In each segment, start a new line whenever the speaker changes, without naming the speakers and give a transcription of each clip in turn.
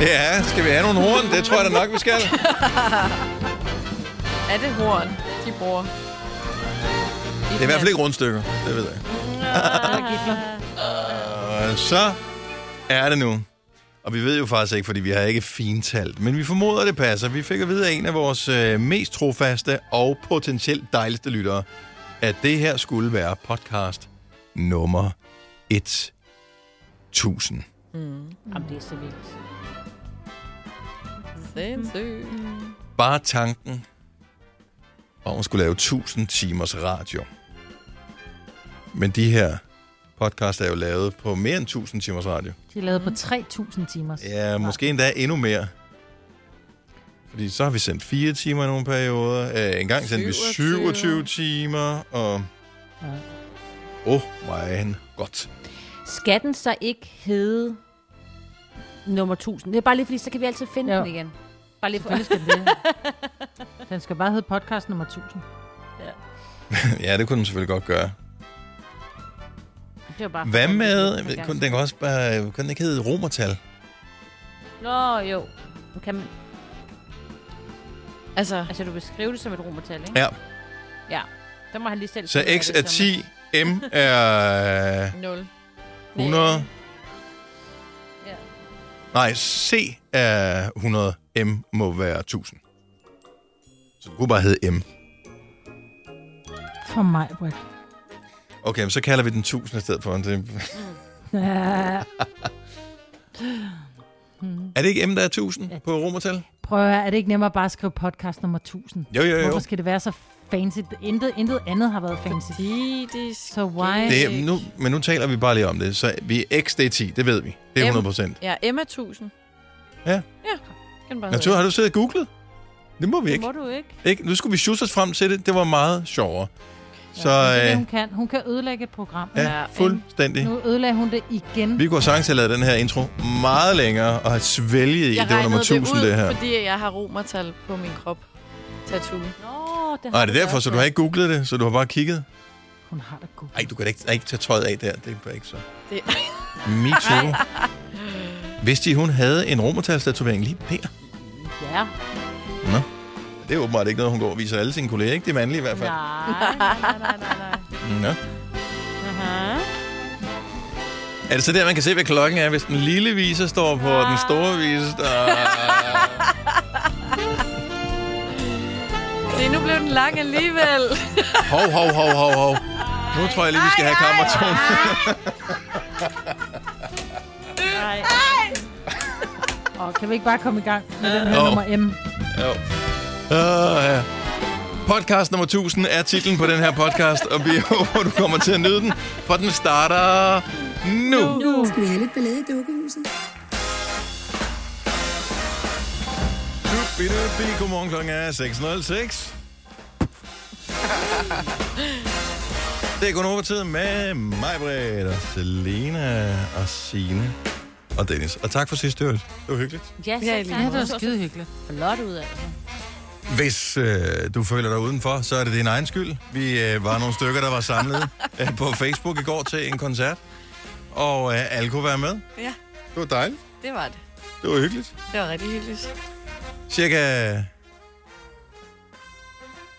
Ja, skal vi have nogle horn? Det tror jeg da nok, vi skal.
Er det horn, de bruger?
Det er i hvert fald ikke rundstykker, det ved jeg. Og så er det nu. Og vi ved jo faktisk ikke, fordi vi har ikke fintalt, men vi formoder, det passer. Vi fik at vide af en af vores øh, mest trofaste og potentielt dejligste lyttere, at det her skulle være podcast nummer 1000.
Jamen, det er så vildt.
Sindssygt.
Bare tanken om at skulle lave 1000 timers radio. Men de her podcast er jo lavet på mere end 1000 timers radio.
De er lavet på 3.000 timer.
Ja, måske endda endnu mere. Fordi så har vi sendt fire timer i nogle perioder. Øh, en gang sendte vi
27.
27 timer, og...
Ja.
Åh, oh, my godt.
Skal den så ikke hedde nummer 1000? Det er bare lige, fordi så kan vi altid finde
Jo.
jo. den igen. Bare lige for...
Selvfølgelig skal den det. Den skal bare hedde podcast nummer 1000.
ja, det kunne den selvfølgelig godt gøre.
Det var bare for-
Hvad med...
Den gang.
Kunne, den kan også bare... Kunne den ikke hedde romertal?
Nå, jo. Nu Kan man,
Altså,
altså, du vil skrive det som et romertal, ikke?
Ja,
Ja. Der må han lige selv...
så
finde ud af
x
det
er
som-
10, m er
0.
100.
Ja.
Nej, c er 100, m må være 1000. Så det kunne bare hedde m.
For mig, Britt.
Okay, men så kalder vi den 1000 i stedet for. Det,
Ja.
Er det ikke M, der er 1000 ja. på romertal?
Prøv at høre, er det ikke nemmere bare at skrive podcast nummer 1000?
Jo, jo, jo.
Hvorfor skal det være så fancy? Intet, intet andet har været fancy.
De, de skal...
Så why?
Det er, nu, men nu taler vi bare lige om det. Så vi er X, det er 10, det ved vi. Det er
M.
100 procent.
Ja, Emma 1000.
Ja.
Ja, kan bare
Natur, har du siddet og googlet? Det må vi
Det
ikke.
må du ikke.
ikke? Nu skulle vi sjusse os frem til det. Det var meget sjovere. Så
Det er det,
øh,
hun kan. Hun kan ødelægge et program.
ja,
Ja,
fuldstændig.
Nu ødelagde hun det igen.
Vi kunne sagtens have lavet den her intro meget længere og have svælget i,
jeg
at det var nummer 1000,
det, ud,
det her.
fordi jeg har romertal på min krop. Tattoo.
Nå, det har
Og er det
du
derfor,
gjort.
så du har ikke googlet det, så du har bare kigget?
Hun har det godt.
Nej, du kan da ikke, ej, ikke tage tøjet af der. Det er ikke så.
Det,
Me too. Vidste I, hun havde en romertalstatovering lige der?
Ja.
Det er åbenbart ikke noget, hun går og viser alle sine kolleger, ikke? Det er mandlige i hvert fald.
Nej, nej, nej, nej, nej.
Nå.
Uh-huh.
Aha.
Er det så der, man kan se, hvad klokken er, hvis den lille viser står på den store viser? Der...
se, nu blev den lang alligevel.
Hov, hov, hov, hov, hov. Nu tror jeg lige, vi skal have kammerton.
Og kan vi ikke bare komme i gang med den her
Jo.
nummer M?
Jo. Åh, ja. Podcast nummer 1000 er titlen på den her podcast, og vi håber, du kommer til at nyde den, for den starter nu. nu.
Skal vi have lidt ballade i dukkehuset?
Godmorgen, klokken er 6.06. Det er kun over tid med mig, Britt, og Selena og Signe og Dennis. Og tak for sidst, det var, det var hyggeligt.
Ja,
Ja,
selv tak.
ja,
det var skide hyggeligt.
Flot ud altså. af det.
Hvis øh, du føler dig udenfor, så er det din egen skyld. Vi øh, var nogle stykker, der var samlet øh, på Facebook i går til en koncert. Og øh, alle kunne være med.
Ja.
Det var dejligt.
Det var det.
Det var hyggeligt.
Det var rigtig hyggeligt.
Cirka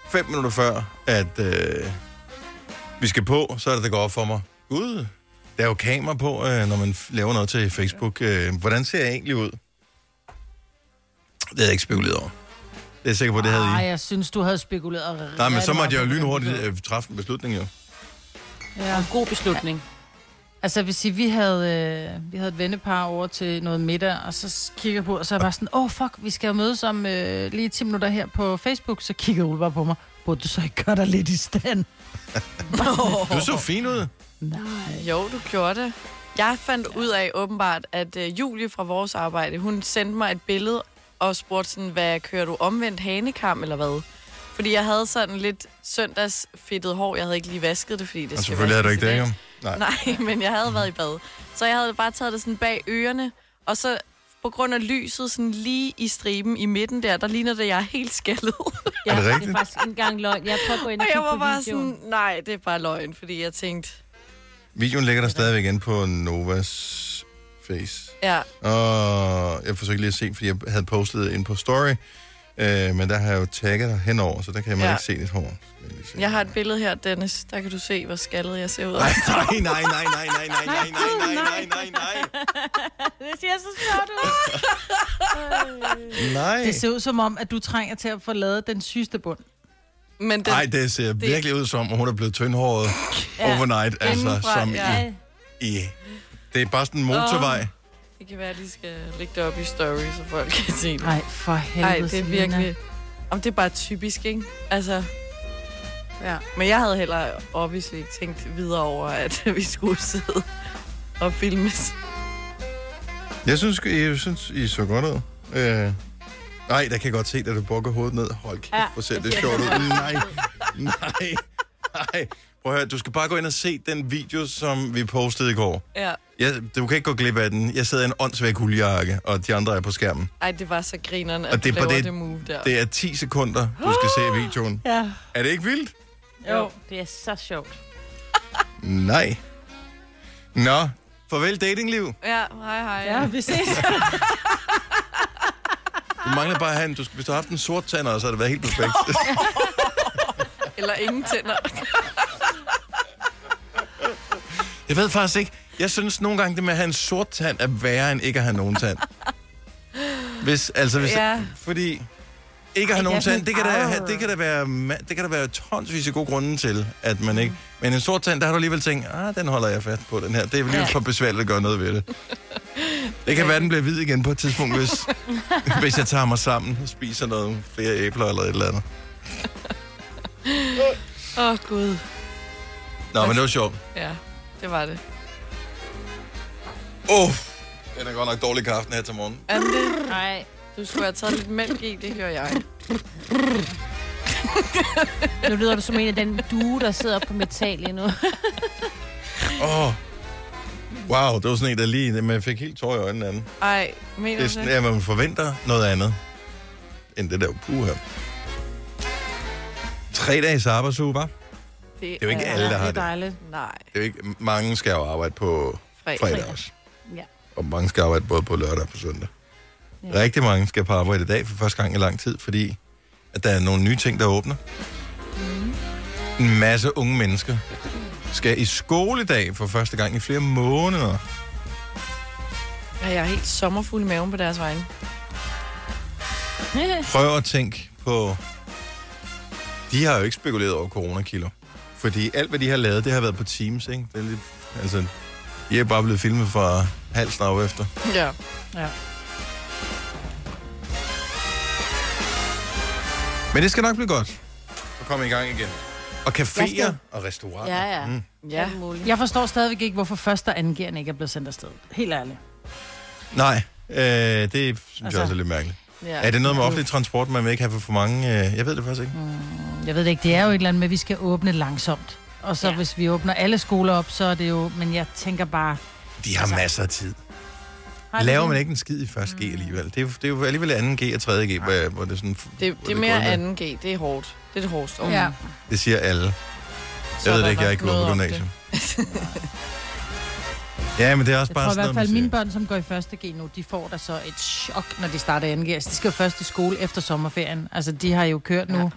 5 minutter før, at øh, vi skal på, så er det, det går op for mig. Gud, der er jo kamera på, øh, når man f- laver noget til Facebook. Øh, hvordan ser jeg egentlig ud? Det havde jeg ikke spekuleret over. Det er jeg sikker på, det havde I.
Nej, jeg synes, du havde spekuleret rigtig
Nej, men så måtte jeg jo
meget.
lynhurtigt øh, træffe en beslutning, jo.
Ja.
God beslutning.
Altså, jeg vil sige, vi havde, øh, vi havde et vennepar over til noget middag, og så s- kigger jeg på, og så er jeg bare sådan, åh, oh, fuck, vi skal jo mødes om øh, lige 10 minutter her på Facebook. Så kigger Ole bare på mig, burde du så ikke gøre dig lidt i stand?
Du så fin ud.
Jo, du gjorde det. Jeg fandt ud af åbenbart, at øh, Julie fra vores arbejde, hun sendte mig et billede og spurgte sådan, hvad kører du omvendt hanekam eller hvad? Fordi jeg havde sådan lidt søndagsfedtet hår. Jeg havde ikke lige vasket det, fordi det
Og
skal
selvfølgelig havde du
vaskes
ikke
i
det,
dag.
jo. Nej.
Nej, men jeg havde været i bad. Så jeg havde bare taget det sådan bag ørerne, og så på grund af lyset sådan lige i striben i midten der, der ligner det, at jeg er helt skaldet.
Ja,
det
Det
rigtigt?
er faktisk ikke engang løgn. Jeg prøver at gå ind
Og
og
jeg
kigge
var
på
bare
videoen.
sådan, nej, det er bare løgn, fordi jeg tænkte,
Videoen ligger der stadigvæk inde på Novas face.
Ja,
Og jeg forsøgte lige at se, fordi jeg havde postet ind på story, øh, men der har jeg jo tagget dig henover, så der kan man
Ja.
ikke se dit hår. Skal lige se.
jeg har et billede her, Dennis. Der kan du se, hvor skaldet jeg ser ud.
Nej, nej, nej, nej, nej, nej, nej, nej, nej, nej, nej, nej,
Det ser så sjovt ud.
nej.
Det ser ud som om, at du trænger til at få lavet den sygeste bund.
Men den,
Nej, det ser virkelig ud som, at hun er blevet tyndhåret overnight, altså
Indenfra,
som
ja.
i, i... Det er bare sådan en motorvej.
det kan være, at de skal lægge det op i story, så folk kan se det.
Nej, for helvede,
Nej, det er
Selina.
virkelig... Om det er bare typisk, ikke? Altså...
Ja.
Men jeg havde heller obviously ikke tænkt videre over, at vi skulle sidde og filmes.
Jeg synes, jeg synes, I så godt ud. Øh. Nej, der kan jeg godt se, at du bukker hovedet ned. Hold kæft,
Ja,
hvor ser
det
det
ser
sjovt ud.
godt ud.
Nej, nej, nej. Prøv at høre, du skal bare gå ind og se den video, som vi postede i går.
Ja.
Jeg, du kan ikke gå glip af den. Jeg sidder i en åndssvag huljakke, og de andre er på skærmen.
Ej, det var så grineren, at
Og
og
det er
det
på
du laver
det-
det, det move der.
Det er 10 sekunder, du skal se i videoen.
Ja.
Er det ikke vildt?
Jo, det er så sjovt.
Nej. Nå, farvel datingliv.
Ja, hej hej.
Ja, vi ses.
Du mangler bare at have en, du, skal- hvis du har haft en sort tænder, så har det været helt perfekt.
Eller ingen tænder.
Jeg ved faktisk ikke. Jeg synes nogle gange, det med at have en sort tand er værre end ikke at have nogen tand. Hvis, altså, hvis, ja.
Ja.
Fordi ikke at have nogen tand, det kan, da, have- det, kan da være, ma- det kan der være tonsvis af gode grunde til, at man ikke... Men en sort tand, der har du alligevel tænkt, ah, den holder jeg fast på, den her. Det er alligevel
Ja.
for besværligt at gøre noget ved det. Det kan være, den bliver hvid igen på et tidspunkt, hvis, hvis jeg tager mig sammen og spiser noget flere æbler eller et eller andet.
Åh, oh, Gud.
Nå, men det var sjovt.
Ja, det var det.
Åh, oh, den er godt nok dårlig kaffe den her til morgen.
Er det
Nej.
du skulle have taget lidt mælk i, det gør jeg.
Nu lyder du som en af den due, der sidder på metal lige nu.
Åh. Oh. Wow, det var sådan en, der lige... Men jeg fik helt tår i øjnene af den.
Ej, mener
Det er
du
sådan,
det?
at man forventer noget andet, end det der puha. Tre dages arbejdsuge, var. Det
Det
er jo ikke alle, der har
det er
det.
dejligt.
Nej,
Det er jo ikke... Mange skal jo arbejde på
fredag.
fredag også.
Ja.
Og mange skal arbejde både på lørdag og på søndag. Ja. Rigtig mange skal på arbejde i dag for første gang i lang tid, fordi at der er nogle nye ting, der åbner.
Mhm.
Mm. En masse unge mennesker skal i skoledag for første gang i flere måneder.
Ja, jeg er helt sommerfuld i maven på deres vegne.
prøv at tænke på... De har jo ikke spekuleret over coronakilo. Fordi alt, hvad de har lavet, det har været på Teams, ikke? Det er lidt, altså, de er bare blevet filmet fra halsen af efter.
Ja.
Men det skal nok blive godt at komme i gang igen. Og
Jeg
caféer
skal-
og restauranter.
Ja, ja.
Mm.
Ja.
Alt muligt.
Jeg forstår stadigvæk ikke, hvorfor første og anden gearne ikke er blevet sendt afsted. Helt ærligt.
Nej, øh, det synes altså,
Altså-
jeg også er lidt mærkeligt.
ja.
Er det noget med offentlig transport, man vil ikke have for for mange? Øh, jeg ved det faktisk ikke.
Jeg ved det ikke, det er jo et eller andet med, at vi skal åbne langsomt. Og så ja.
Ja.
hvis vi åbner alle skoler op, så er det jo... Men jeg tænker bare...
De har
Altså-
masser af tid.
har de
Laver
det?
man ikke en skid i 1. G alligevel? Det er, jo- det er jo alligevel 2. G og 3. G, hvor, hvor det er sådan...
Det, det er mere 2G. Det er hårdt. Det er det hårdeste år.
Ja.
Det siger alle.
Så
Jeg
er
ved
der
det ikke, jeg er
nok
ikke gået på
noget om
gymnasium. ja, men det er også
Jeg
bare
tror i hvert fald,
sådan noget,
at
man
mine
siger.
børn, som går i første G nu, de får da så et chok, når de starter i anden G. Altså, de skal jo først i skole efter sommerferien. Altså, de har jo kørt nu.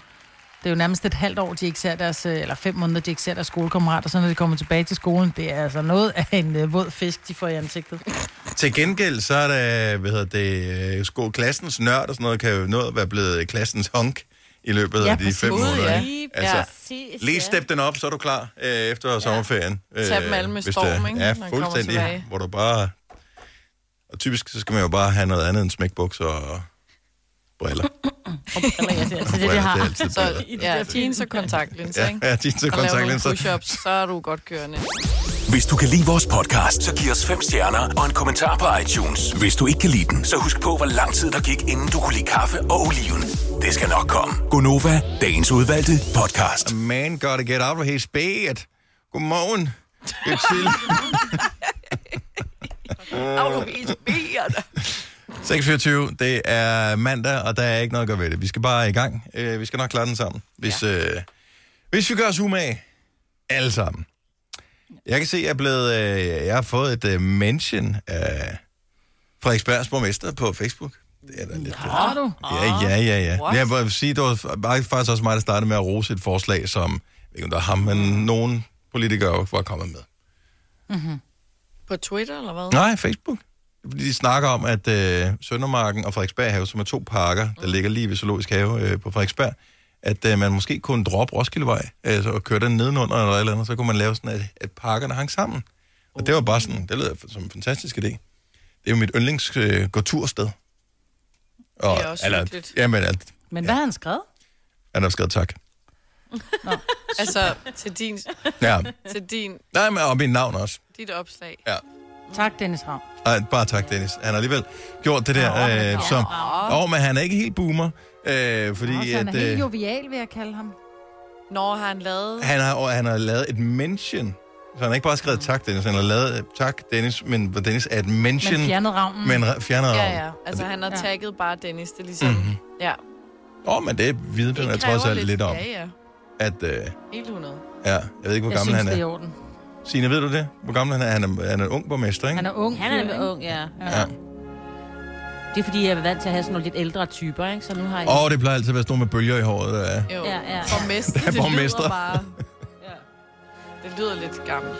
Det er jo nærmest et halvt år, de ikke ser deres, øh, eller fem måneder, de ikke ser deres skolekammerater, så når de kommer tilbage til skolen, det er altså noget af en øh, våd fisk, de får i ansigtet.
Til gengæld, så er det, hvad hedder det, øh, sko, klassens nørd og sådan noget, kan jo nå at være blevet klassens honk i løbet
Ja,
af de fem
præcis.
måneder.
Ja.
ikke? Altså,
Ja.
Præcis,
Lige
ja.
step den op, så er du klar øh, efter sommerferien. Øh,
Tag dem alle med
hvis
storm,
det er-
ikke,
Ja,
når man kommer
fuldstændig.
tilbage.
Hvor du bare... Og typisk, så skal man jo bare have noget andet end smækbukser og briller.
Eller, jeg siger, altså, det, er
Briller,
det, de har.
altid
Så
briller.
ja, jeans og kontaktlinser, ikke?
Ja, ja, de så
Og laver nogle
kontaktlinser.
push-ups, så er du godt kørende.
Hvis du kan lide vores podcast, så giv os fem stjerner og en kommentar på iTunes. Hvis du ikke kan lide den, så husk på, hvor lang tid der gik, inden du kunne lide kaffe og oliven. Det skal nok komme. Gonova, dagens udvalgte podcast.
A man gotta get out of his bed. Godmorgen. Det er tidligt.
Au, du helt beder.
6.24, det er mandag, og der er ikke noget at gøre ved det. Vi skal bare i gang. Øh, vi skal nok klare den sammen, hvis, ja. øh, hvis vi gør os umage. Alle sammen. Jeg kan se, at jeg, er blevet, øh, jeg har fået et øh, mention af Frederiksbergs borgmester på Facebook. Det er da lidt øh, fedt.
Har du?
Ja, ja, ja, ja.
Ah, What?
Jeg vil sige, det var bare- faktisk også mig, der startede med at rose et forslag, som, jeg ved ikke, om der er ham, men
Mm.
nogen politikere var kommet med.
Mm-hmm.
På Twitter eller hvad?
Nej, Facebook. Fordi de snakker om, at øh, Søndermarken og Frederiksberg Have, som er to parker,
Mm.
der ligger lige ved Zoologisk Have øh, på Frederiksberg, at øh, man måske kunne droppe Roskildevej altså, og køre den nedenunder eller et eller andet, så kunne man lave sådan, at, at parkerne hang sammen. Og det var bare sådan, det lyder som en fantastisk idé. Det er jo mit yndlings øh, gåtursted. Og,
Det er også
eller,
hyggeligt.
jamen, alt,
Men hvad har han skrevet?
han har skrevet tak.
Altså til din,
Ja.
til din,
Nej, men og mit navn også.
dit opslag.
Ja.
Tak, Dennis Ravn.
Ej, bare tak, Dennis. Han har alligevel gjort det der, øh, som... Åh, men han er ikke helt boomer, øh, fordi
Også, han er
at...
helt
Øh,
jovial, vil jeg kalde ham.
Når har han lavet...
han, har, og han har lavet et mention. Så han har ikke bare skrevet tak, Dennis. Han har lavet øh, tak, Dennis, men hvor Dennis er et mention,
Men fjernede ravnen.
men re- fjernet
Ja,
ham.
ja. Altså, han har
Ja.
tagget bare Dennis. Det er ligesom...
Mhm.
Mm-hmm. Ja.
Åh, men det vidner jeg
kræver
trods alt lidt om,
Ja, ja.
at... Øh,
Helt 100.
ja, jeg ved ikke, hvor
Jeg
gammel
synes,
han
det er i
er.
orden.
Signe, ved du det? Hvor gammel han er? Han er, han er en ung borgmester, ikke?
Han er ung.
Han er
fyr,
nemlig
ikke?
ung, ja.
Ja.
Det er fordi, jeg er vant til at have sådan nogle lidt ældre typer, ikke? Så nu har jeg...
Åh, det plejer altid at være sådan nogle med bølger i håret. øh. der er.
Jo.
Ja, ja, ja.
Borgmester,
Der er
det lyder
borgmestre.
bare... Det lyder lidt gammelt.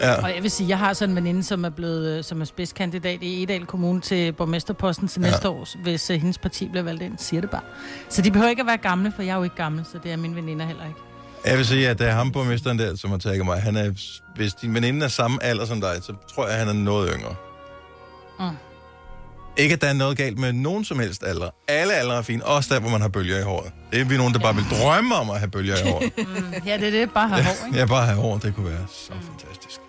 Ja.
Og jeg vil sige, jeg har sådan en veninde, som er blevet øh, som er spidskandidat i Edal Kommune til borgmesterposten til
Ja.
næste år, hvis øh, hendes parti bliver valgt ind, siger det bare. Så de behøver ikke at være gamle, for jeg er jo ikke gammel, så det er mine veninder heller ikke.
Jeg vil sige, at det er ham borgmesteren der, som har taget mig. Han er, hvis din veninde er samme alder som dig, så tror jeg, at han er noget yngre. Mm.
Mm.
Ikke, at der er noget galt med nogen som helst alder. Alle aldre er fine, også der, hvor man har bølger i håret. Det er vi nogen, der bare vil drømme om at have bølger i håret.
Mm. Ja, det er det, bare har hår, ikke? Mm.
ja, bare have hår, det kunne være så fantastisk.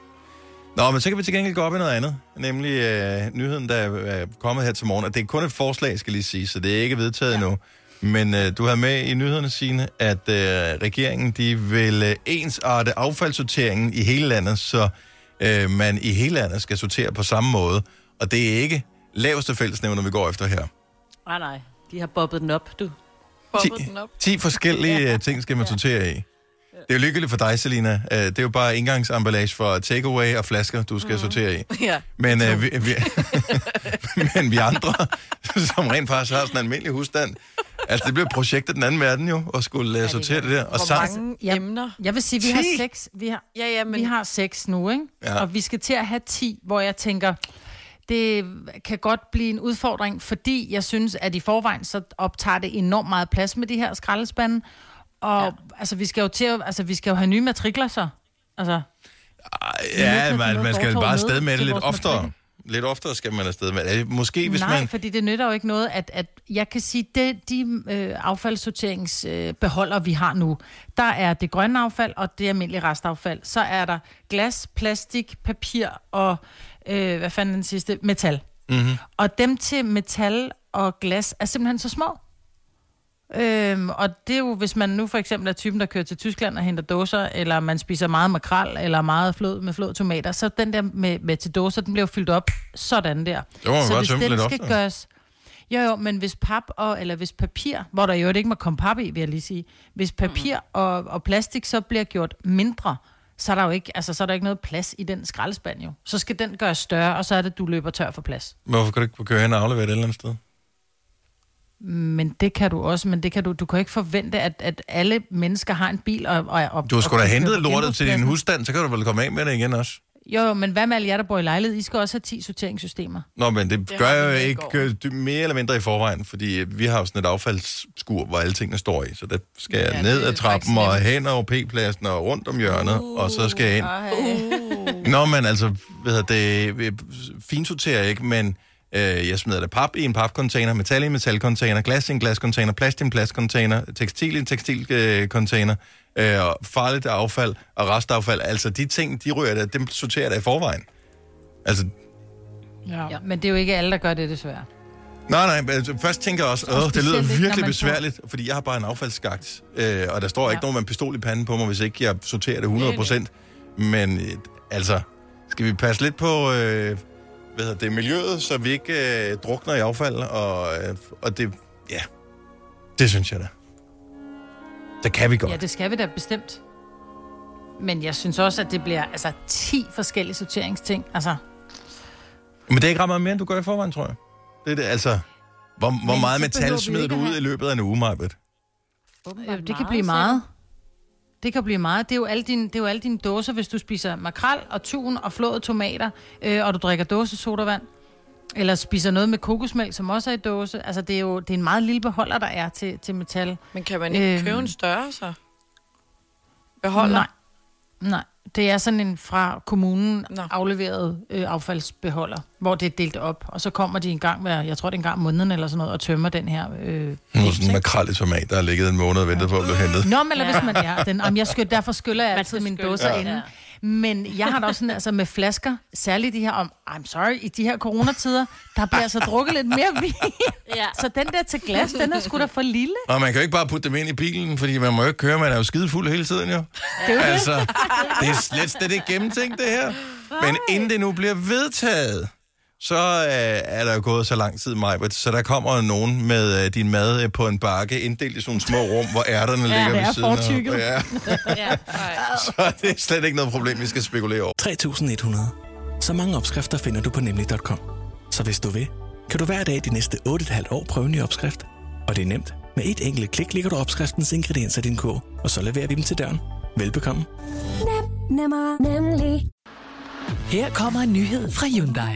Nå, men så kan vi til gengæld gå op i noget andet, nemlig øh, nyheden, der er er kommet her til morgen. Og det er kun et forslag, skal lige sige, så det er ikke vedtaget ja. endnu. Men øh, du har med i nyhederne, Signe, at øh, regeringen de vil øh, ensarte affaldssorteringen i hele landet, så øh, man i hele landet skal sortere på samme måde. Og det er ikke laveste fællesnævner, vi går efter her.
Nej, Ah, nej. De har bobbet den op, du.
Bobbet den op.
10 forskellige ja. ting skal man sortere i. Det er jo lykkeligt for dig, Selina. Øh, Det er jo bare enggangsemballage for takeaway og flasker, du skal mm. sortere i.
Ja.
Men, øh, vi, vi, men vi andre, som rent faktisk har sådan en almindelig husstand, altså det bliver et projekt af den anden verden jo, at skulle ja, sortere det der. Og
Hvor
sammen,
mange
Ja.
emner.
Jeg vil sige, vi har
Ti?
seks, vi har,
Ja, ja, men
vi har seks nu, ikke?
Ja.
Og vi skal til at have ti, hvor jeg tænker, det kan godt blive en udfordring, fordi jeg synes, at i forvejen så optager det enormt meget plads med de her skraldespande. Og ja. altså, vi skal jo til at, altså, vi skal jo have nye matrikler så. Altså,
Ej,
er nødt til at
ja,
finde
man,
noget
man skal
fortov
bare
med
afsted med det
til
lidt
vores
oftere.
matrikel.
Lidt oftere skal man afsted med det. Måske hvis
nej,
man...
fordi det nytter jo ikke noget, at, at jeg kan sige, det de øh, affaldssorteringsbeholder, øh, beholdere, vi har nu, der er det grønne affald og det almindelige restaffald. Så er der glas, plastik, papir og, øh, hvad fanden er den sidste, metal. Mm-hmm. Og dem til metal og glas er simpelthen så små. Øhm, og det er jo, hvis man nu for eksempel er typen, der kører til Tyskland og henter dåser, eller man spiser meget makrel, eller meget flød med flåd tomater, så den der med, med til dåser, den bliver jo fyldt op sådan der.
Så må man
så
godt
hvis
tømme
den
den lidt
skal
oftere.
gøres... Jo, jo, men hvis pap og, eller hvis papir, hvor der jo ikke må komme pap i, vil jeg lige sige, hvis papir mm. og, og plastik så bliver gjort mindre, så er der jo ikke, altså, så er der ikke noget plads i den skraldespand jo. Så skal den gøres større, og så er det, du løber tør for plads.
Hvorfor kan du ikke køre hen og aflevere det et eller andet sted?
Men det kan du også, men det kan du, du kan ikke forvente, at, at alle mennesker har en bil. Og, og, og
Du har
og
sgu da
kan køre
hentet
på
lortet til din
genbrugspladsen.
husstand, så kan du vel komme af med det igen også.
Jo, jo, men hvad med alle jer, der bor i lejlighed? I skal også have 10 sorteringssystemer.
Nå, men det, det
Det
gør
har vi
jeg jo
med i
ikke
går.
øh, dy- mere eller mindre i forvejen, fordi øh, vi har jo sådan et affaldsskur, hvor alle tingene står i. Så der skal jeg
Ja,
ned
det er
ad trappen
faktisk
og hen over P-pladsen og rundt om hjørnet, uh, og så skal jeg ind. Uh. Nå, men altså, ved jeg, det øh, finsorterer jeg ikke, men øh, jeg smider da pap i en papcontainer, metal i en metalcontainer, glas i en glascontainer, plast i en plastcontainer, tekstil i en tekstilcontainer, øh, og farligt affald og restaffald. Altså, de ting, de rører der, dem sorterer jeg da i forvejen. Altså,
Ja. ja. Men det er jo ikke alle, der gør det, desværre.
Nej, nej, men altså, først tænker jeg også,
Og
åh, det lyder
specielt ikke, når
virkelig
man
besværligt, fordi jeg har bare en affaldsskagt, øh, og der står ikke
Ja.
nogen med en pistol i panden på mig, hvis ikke jeg sorterer det 100%. Men øh, altså, skal vi passe lidt på øh, hvad hedder det, miljøet, så vi ikke øh, drukner i affald, og, øh, og det, ja, det synes jeg da. Det kan vi godt.
Ja, det skal vi da bestemt. Men jeg synes også, at det bliver altså 10 forskellige sorteringsting. Altså,
Men det er ikke ret meget mere, end du gør i forvejen, tror jeg. Det er det, altså... Hvor, hvor
Men
meget
så
metal
behøver vi
smider
ikke
du
at
ud
have-
i løbet af en uge, Marbet?
Ja, det kan blive meget. Det kan blive meget. Det er, jo alle dine, det er jo alle dine dåser, hvis du spiser makrel og tun og flåede tomater, øh, og du drikker dåsesodavand, eller spiser noget med kokosmælk, som også er i dåse. Altså, det er jo det er en meget lille beholder, der er til, til metal.
Men kan man ikke
Øhm.
købe en større, så? Beholder?
Nej. Nej. Det er sådan en fra kommunen
Nå.
Nå. afleveret øh, affaldsbeholder, hvor det er delt op. Og så kommer de en gang hver, jeg tror det er en gang om måneden eller sådan noget, og tømmer den her. Øh,
Nu er sådan en makrel i tomat, der har ligget en måned og ventet på at blive hentet.
Nå, men eller hvis man er den. Jamen, jeg skyld, derfor skyller jeg
Man
altid
skal
mine
skylde,
dåser
ja.
ja. inden. Men jeg har da også sådan, altså med flasker, særligt de her, om, I'm sorry, i de her coronatider, der bliver altså drukket lidt mere vin.
Ja.
Så den der til glas, den er sgu da for lille.
Og man kan jo ikke bare putte dem ind i bilen, fordi man må jo ikke køre, man er jo skide fuld hele tiden jo.
Det er jo det.
Altså, det er slet slet ikke gennemtænkt det her. Men inden det nu bliver vedtaget, så øh, er der jo gået så lang tid, Majbert, så der kommer nogen med øh, din mad øh, på en bakke, inddelt i sådan nogle små rum, hvor ærterne ja, ligger
det er
ved siden
fortykket.
Ja,
Ja.
så det er slet ikke noget problem, vi skal spekulere over.
3100. Så mange opskrifter finder du på nemlig.com. Så hvis du vil, kan du hver dag de næste 8,5 år prøve en ny opskrift. Og det er nemt. Med et enkelt klik ligger du opskriftens ingredienser i din kog, og så leverer vi dem til døren. Velbekomme.
Nemmere, nemlig.
Her kommer en nyhed fra Hyundai.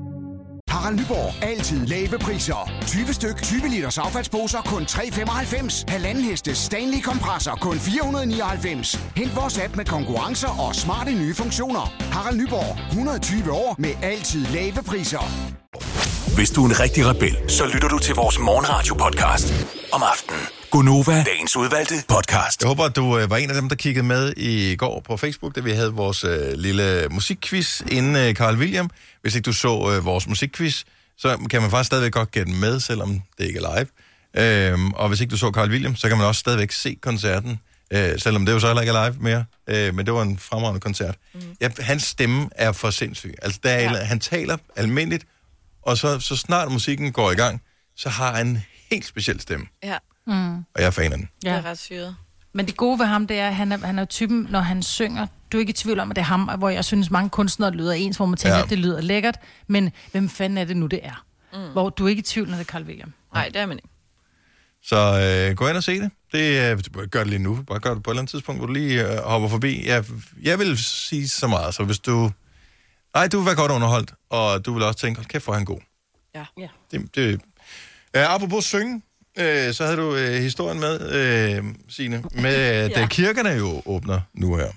Harald Nyborg. Altid lave priser. 20 styk, 20 liters affaldsposer kun 3,95. Halvanden heste Stanley kompresser kun 499. Hent vores app med konkurrencer og smarte nye funktioner. Harald Nyborg. 120 år med altid lave priser.
Hvis du er en rigtig rebel, så lytter du til vores morgenradio-podcast om aftenen. Gonova, dagens udvalgte podcast.
Jeg håber, at du øh, var en af dem, der kiggede med i går på Facebook, da vi havde vores øh, lille musikquiz inden øh, Carl William. Hvis ikke du så øh, vores musikquiz, så kan man faktisk stadigvæk godt gætte med, selvom det ikke er live. Øhm, og hvis ikke du så Carl William, så kan man også stadigvæk se koncerten, øh, selvom det jo så heller ikke er live mere. Øh, men det var en fremragende koncert. Mm. Ja, hans stemme er for sindssyg. Altså, der er, ja. han taler almindeligt, og så, så snart musikken går i gang, så har han en helt speciel stemme.
Ja,
Og jeg er fan af den.
det er ret syret.
Mm, Men det gode ved ham, det er, at han er, han er typen, når han synger, du er ikke i tvivl om, at det er ham, hvor jeg synes, mange kunstnere lyder ens, hvor man tænker,
Ja.
ja. det lyder lækkert, men hvem fanden er det nu, det er? Mm. Hvor du er ikke i tvivl, når det er Carl William.
Nej, det er man ikke.
Så øh, gå ind og se det. det øh, du behøver ikke gøre det lige nu. Bare gør det på et eller andet tidspunkt, hvor du lige øh, hopper forbi. Jeg, jeg vil sige så meget, så hvis du... Nej, du vil være godt underholdt, og du vil også tænke, hold kæft, hvor er han god.
Ja.
Ja.
Det, det. Øh, apropos synge, øh, så havde du øh, historien med, øh, Signe, med at ja. kirkerne jo åbner nu her.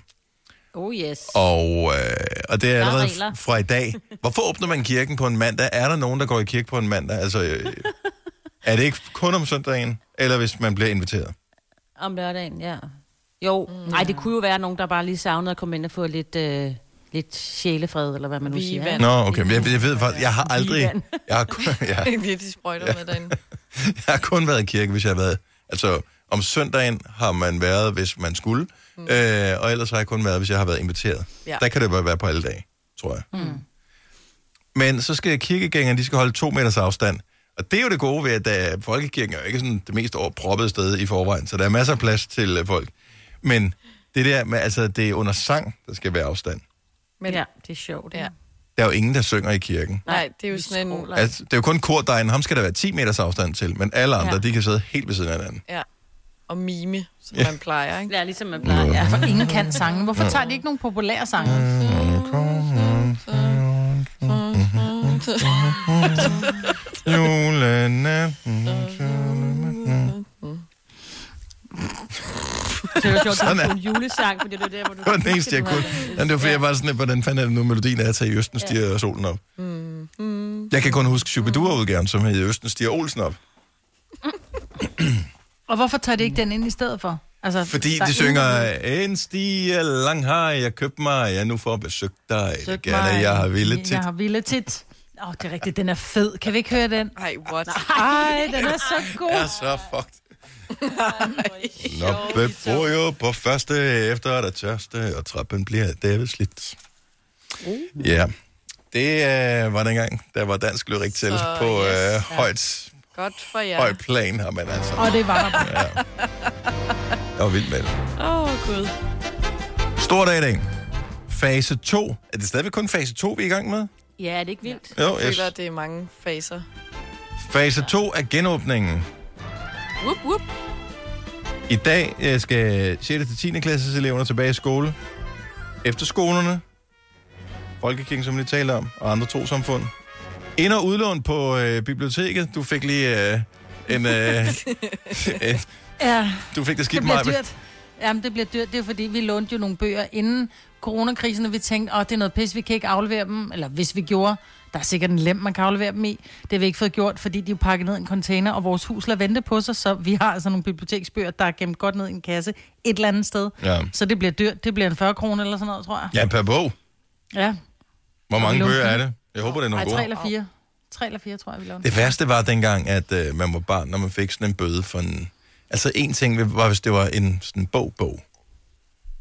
Oh yes.
Og, øh, og det er
er
allerede
regler.
fra i dag. Hvorfor åbner man kirken på en mandag? Er der nogen, der går i kirke på en mandag? Altså, øh, er det ikke kun om søndagen, eller hvis man bliver inviteret?
Om lørdagen, ja. Jo, nej, det kunne jo være nogen, der bare lige savnede at komme ind og få lidt, øh, lidt sjælefred, eller hvad man nu siger.
Vivan.
ikke?
Nå, okay, men jeg, jeg ved faktisk, jeg har aldrig, jeg har, kun, jeg,
Det er virkelig de sprøjter med derinde.
jeg har kun været i kirke, hvis jeg har været, altså om søndagen har man været, hvis man skulle, mm. øh, og ellers har jeg kun været, hvis jeg har været inviteret. Ja.
Ja.
Der kan det bare være på alle dage, tror jeg. Mm. Men så skal kirkegængerne, de skal holde to meters afstand, og det er jo det gode ved, at der, folkekirken er jo ikke sådan det mest overproppede sted i forvejen, så der er masser af plads til øh, folk. Men det der med, altså det er under sang, der skal være afstand.
Men ja.
Ja, det er sjovt.
Ja.
Ja.
Der er jo ingen, der synger i kirken.
nej, det er jo sådan en...
skråler.
Altså, det er jo kun kordejen, ham skal der være 10 meters afstand til, men alle andre, ja.
Ja.
de kan sidde helt ved siden af hinanden.
Ja. Og mime, som man plejer, ikke?
Ja, ligesom man plejer. Ja.
For ingen kan sange. Hvorfor tager de ikke nogle populære sange?
Julene.
det var sjovt, at
Sådan
du
er.
tog en julesang, fordi det var der, hvor du...
Det var den eneste, jeg kunne. Jamen, det var fordi, jeg var sådan lidt, hvordan fanden er det nu, melodien er til I Østen stiger solen op.
Mm.
Jeg kan kun huske Shubidua-udgaven, som hed I Østen stiger Olsen op.
Og hvorfor tager det ikke den ind i stedet for? Altså,
Fordi
der er
de
ingen-
synger, en stige lang har jeg købt mig, jeg nu får besøgt dig, det
Søg
gerne
mig.
jeg har ville tit.
Jeg har ville tit. Åh, oh, det er rigtigt, den er fed. Kan vi ikke høre den?
Ej, what?
Ej, den er så god.
er så fucked. Nå, bebor jo på første, efter der tørste, og trappen bliver David slidt.
Uh.
Ja, det øh, var dengang, der var dansk lyrik til
Så,
på
yes,
øh,
ja.
højt,
Godt for jer.
højt plan, har man altså.
Og det var der bare.
Jeg var vild med det.
Åh, oh, gud.
Stor dag i dag. Fase 2. Er det stadigvæk kun fase 2, vi er i gang med?
Ja, er det ikke vildt?
Jo,
Jeg
yes.
føler, at det er mange faser.
Fase 2 er genåbningen.
Whoop, whoop.
I dag øh, skal 6. til 10. klasses eleverne tilbage i skole. Efterskolerne, Folkekirken, som vi lige talte om, og andre trosamfund. Ind- og udlån på øh, biblioteket. Du fik lige øh, en... Øh, øh,
Ja,
du fik det
det
skidt
bliver
meget.
dyrt. Jamen, det bliver dyrt. Det er fordi, vi lånte jo nogle bøger inden coronakrisen, og vi tænkte, åh, det er noget pis, vi kan ikke aflevere dem. Eller hvis vi gjorde, der er sikkert en lem, man kan aflevere dem i. Det har vi ikke fået gjort, fordi de er jo pakket ned i en container, og vores hus lader vente på sig, så vi har altså nogle biblioteksbøger, der er gemt godt ned i en kasse et eller andet sted.
Ja.
Så det bliver dyrt. Det bliver en 40 kroner eller sådan noget, tror jeg.
Ja, per bog.
Ja.
Hvor mange
Lån
bøger er
fire.
det? Jeg håber, det er nogle
Ej,
gode.
tre eller fire. Tre eller fire, tror jeg, vi lånte.
Det værste var dengang, at øh, man var barn, når man fik sådan en bøde for en... Altså en ting var, hvis det var en sådan bog-bog.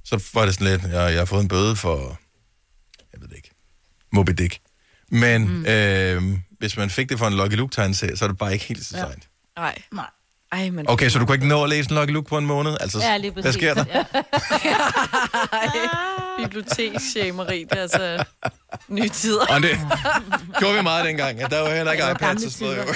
Så var det sådan lidt, jeg, jeg har fået en bøde for... Jeg ved det ikke. Moby Dick. Men mm. øh, hvis man fik det for en Lucky Luke-tegnserie, så er det bare ikke helt så sejt. Ja.
Nej.
Nej.
Ej, men...
Okay, så du kunne ikke nå at læse en Lucky Luke på en måned? Altså,
Ja, lige præcis.
hvad sker der?
Ja.
Biblioteksshameri, det er altså nye tider.
Og det gjorde vi meget dengang, at der var heller ikke iPads og sådan noget. jo.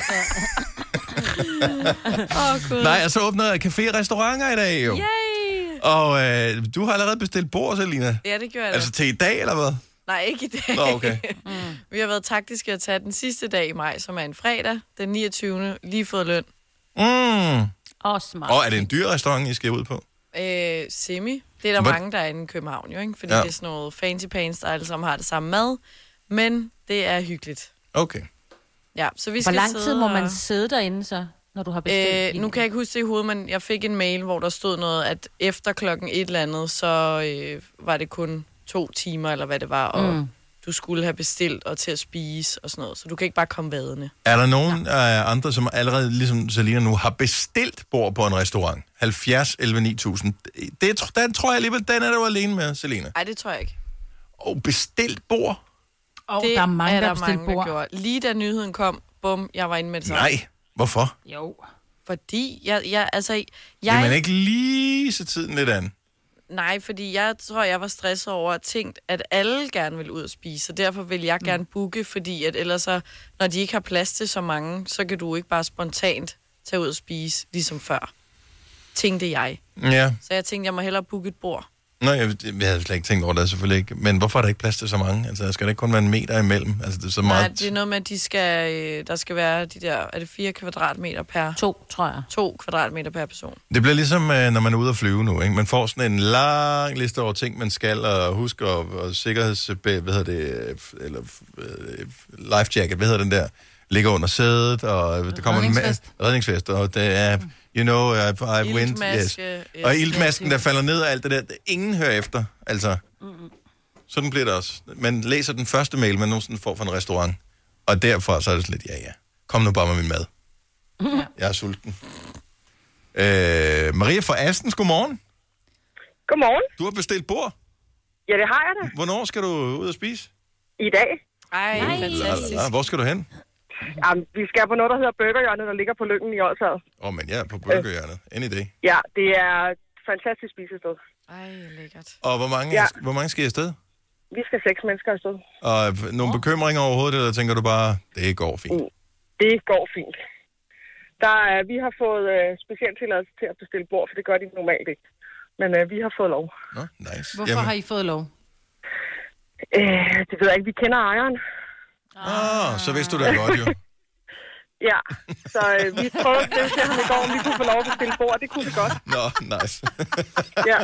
Åh, oh, gud.
Nej, og så åbnede café og restauranter i dag jo.
Yay!
Og øh, du har allerede bestilt bord, Selina.
Ja, det gjorde jeg da.
Altså til i dag, eller hvad?
Nej, ikke i dag.
Nå, okay.
Mm.
Vi har været taktiske at tage den sidste dag i maj, som er en fredag, den 29. Lige fået løn.
Mm.
Åh, smart.
Og er det en dyr restaurant, I skal ud på?
Øh, semi. Det er der
Hvor-
Hvor... mange, der er inde i København, jo, ikke? Fordi
Ja.
ja. det er sådan noget fancy pants, der alle sammen har det samme mad. Men det er hyggeligt.
Okay.
Ja, så vi
Hvor
skal
lang tid
sidde
må
og-
man sidde derinde så, når du har bestilt?
Øh, nu kan jeg ikke huske det i hovedet, men jeg fik en mail, hvor der stod noget, at efter klokken et eller andet, så øh, var det kun to timer, eller hvad det var, og mm. du skulle have bestilt og til at spise og sådan noget. Så du kan ikke bare komme vadende.
Er der nogen øh, andre, som allerede, ligesom Selina nu, har bestilt bord på en restaurant? 70, 11, 9000. Det, tr- den tror jeg alligevel, den er du alene med, Selina.
Nej, det tror jeg ikke.
Og bestilt bord?
Og
det
der er mange, der
der
har bestilt
mange, der
bord.
gjorde. Lige da nyheden kom, bum, jeg var inde med det samme.
Nej. Hvorfor?
Jo.
Fordi, jeg, jeg, altså, jeg...
Vil man ikke lige se tiden lidt an?
Nej, fordi jeg tror, jeg var stresset over at tænkt, at alle gerne vil ud og spise, og derfor vil
Mm.
jeg gerne booke, fordi at ellers så, når de ikke har plads til så mange, så kan du ikke bare spontant tage ud og spise, ligesom før. Tænkte jeg.
Ja.
Så jeg tænkte, jeg må hellere booke et bord.
Nå, jeg, jeg havde slet ikke tænkt over det, selvfølgelig ikke. Men hvorfor er der ikke plads til så mange? Altså, der skal der ikke kun være en meter imellem? Altså, det er så
Nej,
meget...
det er noget med, at de skal, øh, der skal være de der, er det 4 kvadratmeter per,
To, tror jeg.
to kvadratmeter per person.
Det bliver ligesom, øh, når man er ude at flyve nu. Ikke? Man får sådan en lang liste over ting, man skal, og husk, og, og sikkerheds... øh, Hvad hedder det? øh, f- Eller f- øh, life jacket, hvad hedder den der? Ligger under sædet, og øh, der kommer en...
Redningsvest.
ma- Redningsvest. Og det er, you know, I, I win. Yes.
Iltmaske, øh, yes,
Og iltmasken, der falder ned og alt det der, det- ingen hører efter. Altså, sådan bliver det også. Man læser den første mail, man nogensinde får fra en restaurant, og derfra så er det sådan lidt, ja ja, kom nu bare med min mad. Jeg er sulten. Øh, Maria fra Astens, godmorgen.
Godmorgen.
Du har bestilt bord.
Ja, det har jeg da.
Hvornår skal du ud og spise?
I dag.
Ej,
Nej.
fantastisk.
Ja, hvor skal du hen?
Jamen, vi skal på noget, der hedder Burgerhjørnet, der ligger på Lyngen i Årshavet.
Åh, oh, men jeg er på burgerhjørnet. Any day.
Ja, det er et fantastisk spisested.
Ej, lækkert.
Og hvor mange, ja.
Ja.
hvor mange skal I afsted?
Vi skal seks mennesker afsted.
Og øh, nogle bekymringer overhovedet, eller tænker du bare, det går fint?
Mm.
Det går fint. Der er, vi har fået øh, specielt tilladelse til at bestille bord, for det gør de normalt ikke. Men øh, vi har fået lov.
Nå, nice.
Hvorfor har I fået lov?
Øh, det ved jeg ikke. Vi kender ejeren.
Ah.
Ah, så vidste du da godt jo.
Ja, så øh, vi prøvede at stille til ham i går, om vi kunne få lov at bestille bord. Det kunne vi godt.
Nå, nice.
Ja.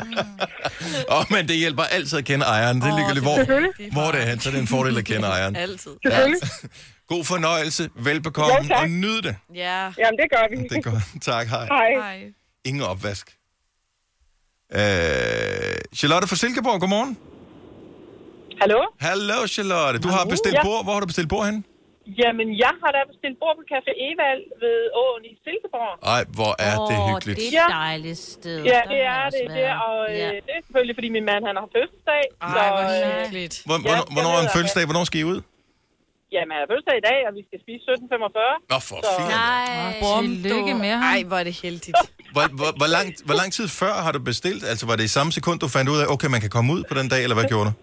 Åh, oh, men det hjælper altid at kende ejeren. Det er ligegyldigt, hvor,
selvfølgelig.
hvor det er hen, så er det en fordel at kende ejeren.
Altid.
Selvfølgelig.
God fornøjelse, velbekomme,
Jo, tak.
og nyd det.
Ja.
Jamen, det gør vi.
Mm.
Det er godt. Tak, hej.
Hej.
Ingen opvask. Øh, Charlotte fra Silkeborg, godmorgen.
Hallo?
Hallo, Charlotte. Du har
Hallo.
bestilt
Ja.
bord. Hvor har du bestilt bord hen?
Jamen, jeg har da bestilt bord på Café Evald ved åen i Silkeborg.
Ej, hvor er oh, det hyggeligt.
det
Det
er
er
et
et dejligt sted.
Ja, det er det, det er, og øh, det er selvfølgelig, fordi min mand han har fødselsdag. Ej, så,
hvor
øh,
hyggeligt.
Hvor,
jeg
hvornår,
skal
hvornår er en
ned og-
fødselsdag? Hvornår skal I ud?
Jamen, han har fødselsdag i dag, og vi skal spise 17.45.
Nå, for
så,
fanden.
Nej,
Tillykke med ham.
Ej, hvor er det heldigt.
Hvor, hvor, hvor, langt, hvor lang tid før har du bestilt? Altså, var det i samme sekund, du fandt ud af, okay, man kan komme ud på den dag, eller hvad gjorde du?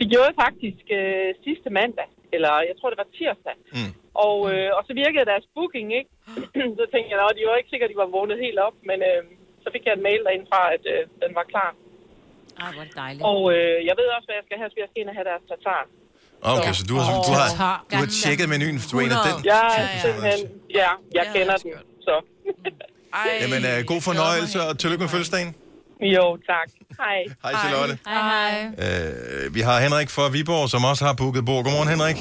Det gjorde jeg faktisk øh, sidste mandag, eller jeg tror, det var tirsdag.
Mm.
Og, øh, og så virkede deres booking, ikke? så tænkte jeg, at de var ikke sikkert, at de var vågnet helt op, men øh, så fik jeg en mail derinde fra, at øh, den var klar.
Ej, hvor er det dejligt.
Og øh, jeg ved også, hvad jeg skal have, så jeg skal ind og have deres tatar.
Ah, Okay, så du har, du har, du har tjekket menuen, for du er en af den.
Ja, simpelthen. Ja, jeg kender den, så.
Jamen, øh, god fornøjelse, og tillykke med fødselsdagen.
Jo, tak. Hej.
Hej, Charlotte.
Hej, hej.
Øh, vi har Henrik fra Viborg, som også har booket bord. Godmorgen, Henrik.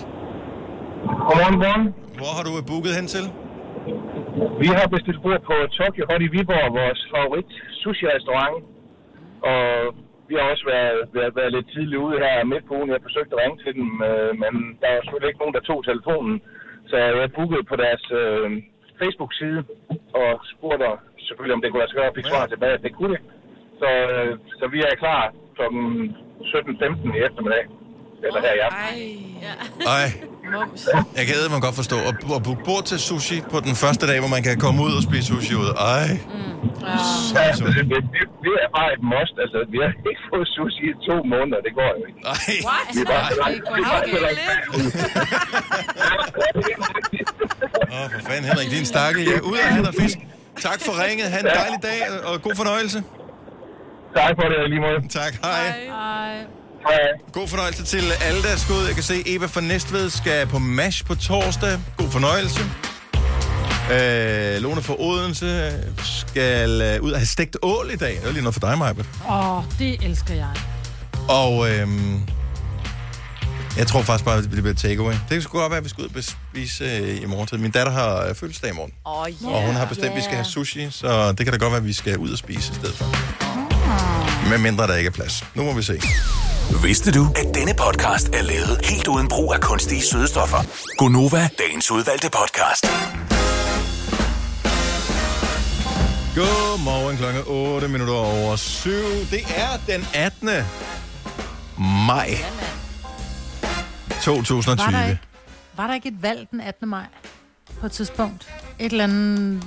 Godmorgen, godmorgen.
Hvor har du øh, booket hen til?
Vi har bestilt bord på Tokyo Hot i Viborg, vores favorit sushi-restaurant. Og vi har også været, været, været lidt tidligt ude her midt på ugen. Jeg forsøgte at ringe til dem, øh, men der var selvfølgelig ikke nogen, der tog telefonen. Så jeg bookede på deres øh, Facebook-side og spurgte selvfølgelig, om det kunne lade sig gøre. Jeg fik svar tilbage, at det kunne det. Så, øh, så vi er klar kl. 17.15 i eftermiddag. Eller her i aften.
Ej, jeg kan man godt forstå. At, at booke bord til sushi på den første dag, hvor man kan komme ud og spise sushi ud. Ej.
Ja, Mm. altså, det, det, det- det er bare et must. Altså, vi har ikke fået sushi i to måneder. Det går jo ikke.
Nej.
What? Det er bare, det er bare, det er bare,
Åh, for fanden, Henrik, din stakkel. Ja, ud og han og fisk. Tak for ringet. Ha' en dejlig dag, og god fornøjelse.
Tak for det, lige måde.
Tak, hej.
Hej.
God fornøjelse til alle, der er skudt. Jeg kan se, Eva fra Næstved skal på MASH på torsdag. God fornøjelse. Øh, Lone fra Odense skal øh, ud og have stegt ål i dag. Det er lige noget for dig, Maja.
Åh, oh, det elsker jeg.
Og øhm, jeg tror faktisk bare, at det bliver takeaway. Det kan sgu godt være, at vi skal ud og spise øh, i morgen. tid. Min datter har øh, fødselsdag i morgen.
Åh, oh,
Og hun har bestemt, at vi skal have sushi, så det kan da godt være, at vi skal ud og spise i stedet for.
Ah.
Med mindre der ikke er plads. Nu må vi se.
Vidste du, at denne podcast er lavet helt uden brug af kunstige sødestoffer? Gonova, dagens udvalgte podcast.
Godmorgen klokken 8 minutter over 7. Det er den 18. maj 2020.
Var der, ikke, var der ikke et valg den 18. maj på et tidspunkt? Et eller andet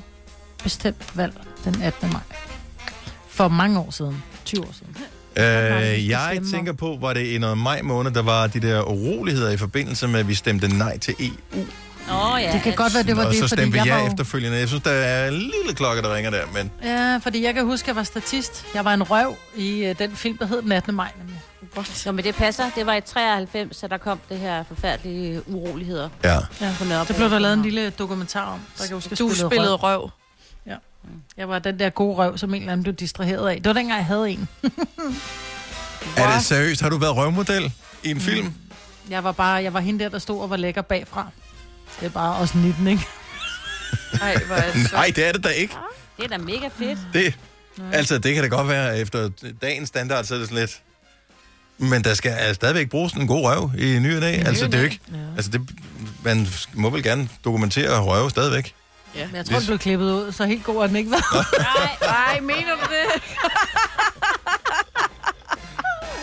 bestemt valg den 18. maj. For mange år siden. 20 år siden.
Øh, jeg tænker på, var det i noget maj måned, der var de der uroligheder i forbindelse med, at vi stemte nej til EU.
Åh, ja.
Det kan godt være, det var
og
det,
så
fordi
stemte
jeg
jeg
var jo-
efterfølgende. Jeg synes, der er en lille klokke, der ringer der, men
Ja, fordi jeg kan huske, at jeg var statist. Jeg var en røv i øh, den film, der hed den 18. maj. Nemlig.
Nå, men det passer. Altså, Det var i 93, så der kom det her forfærdelige uroligheder.
Ja.
Ja.
På Nørrebro.
Det blev der lavet en lille dokumentar om. Der kan jeg huske, jeg
Du spillede røv.
Ja. Jeg var den der gode røv, som en eller anden blev distraheret af. Det var dengang, jeg havde en.
er det seriøst? Har du været røvmodel i en film?
Jeg var bare, jeg var hende der, der stod og var lækker bagfra. Det er bare også 19, ikke?
Nej, hvor er
Nej, det er det da ikke.
Det er da mega fedt.
Det, altså, det kan da godt være, at efter dagens standard, så er det sådan lidt... Men der skal altså, stadigvæk bruges en god røv i ny og næ. Altså, det er jo ikke... Altså, det, man må vel gerne dokumentere røve stadigvæk.
Ja.
Men jeg tror, den blev klippet ud, så helt god er den ikke været.
Nej, mener du det?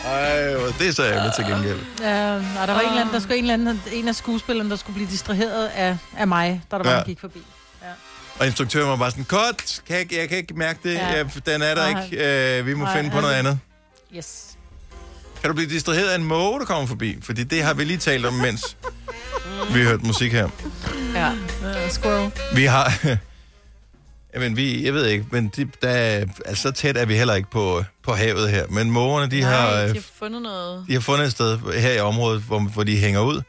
Ej, hvor- det er så ærgerligt til gengæld.
Ja, og der var en, eller anden, der skulle, en, eller anden, en af skuespillerne, der skulle blive distraheret af, af mig, da der var,
Ja.
ja. gik forbi.
Og instruktøren var bare sådan, kort, kan jeg, jeg kan ikke mærke det,
Ja.
ja. den er der
Nej.
ikke, øh, vi må
Nej,
finde på
han-
noget andet.
Yes.
Kan du blive distraheret af en måge, der kommer forbi? Fordi det har vi lige talt om, mens vi hørte musik her.
Ja.
Uh, squirrel.
Vi har... Jamen, vi, jeg ved ikke, men de, der, er- altså, så tæt er vi heller ikke på, på havet her. Men mågerne, de, har,
Nej,
øh,
de har fundet noget.
de har fundet et sted her i området, hvor, hvor de hænger ud.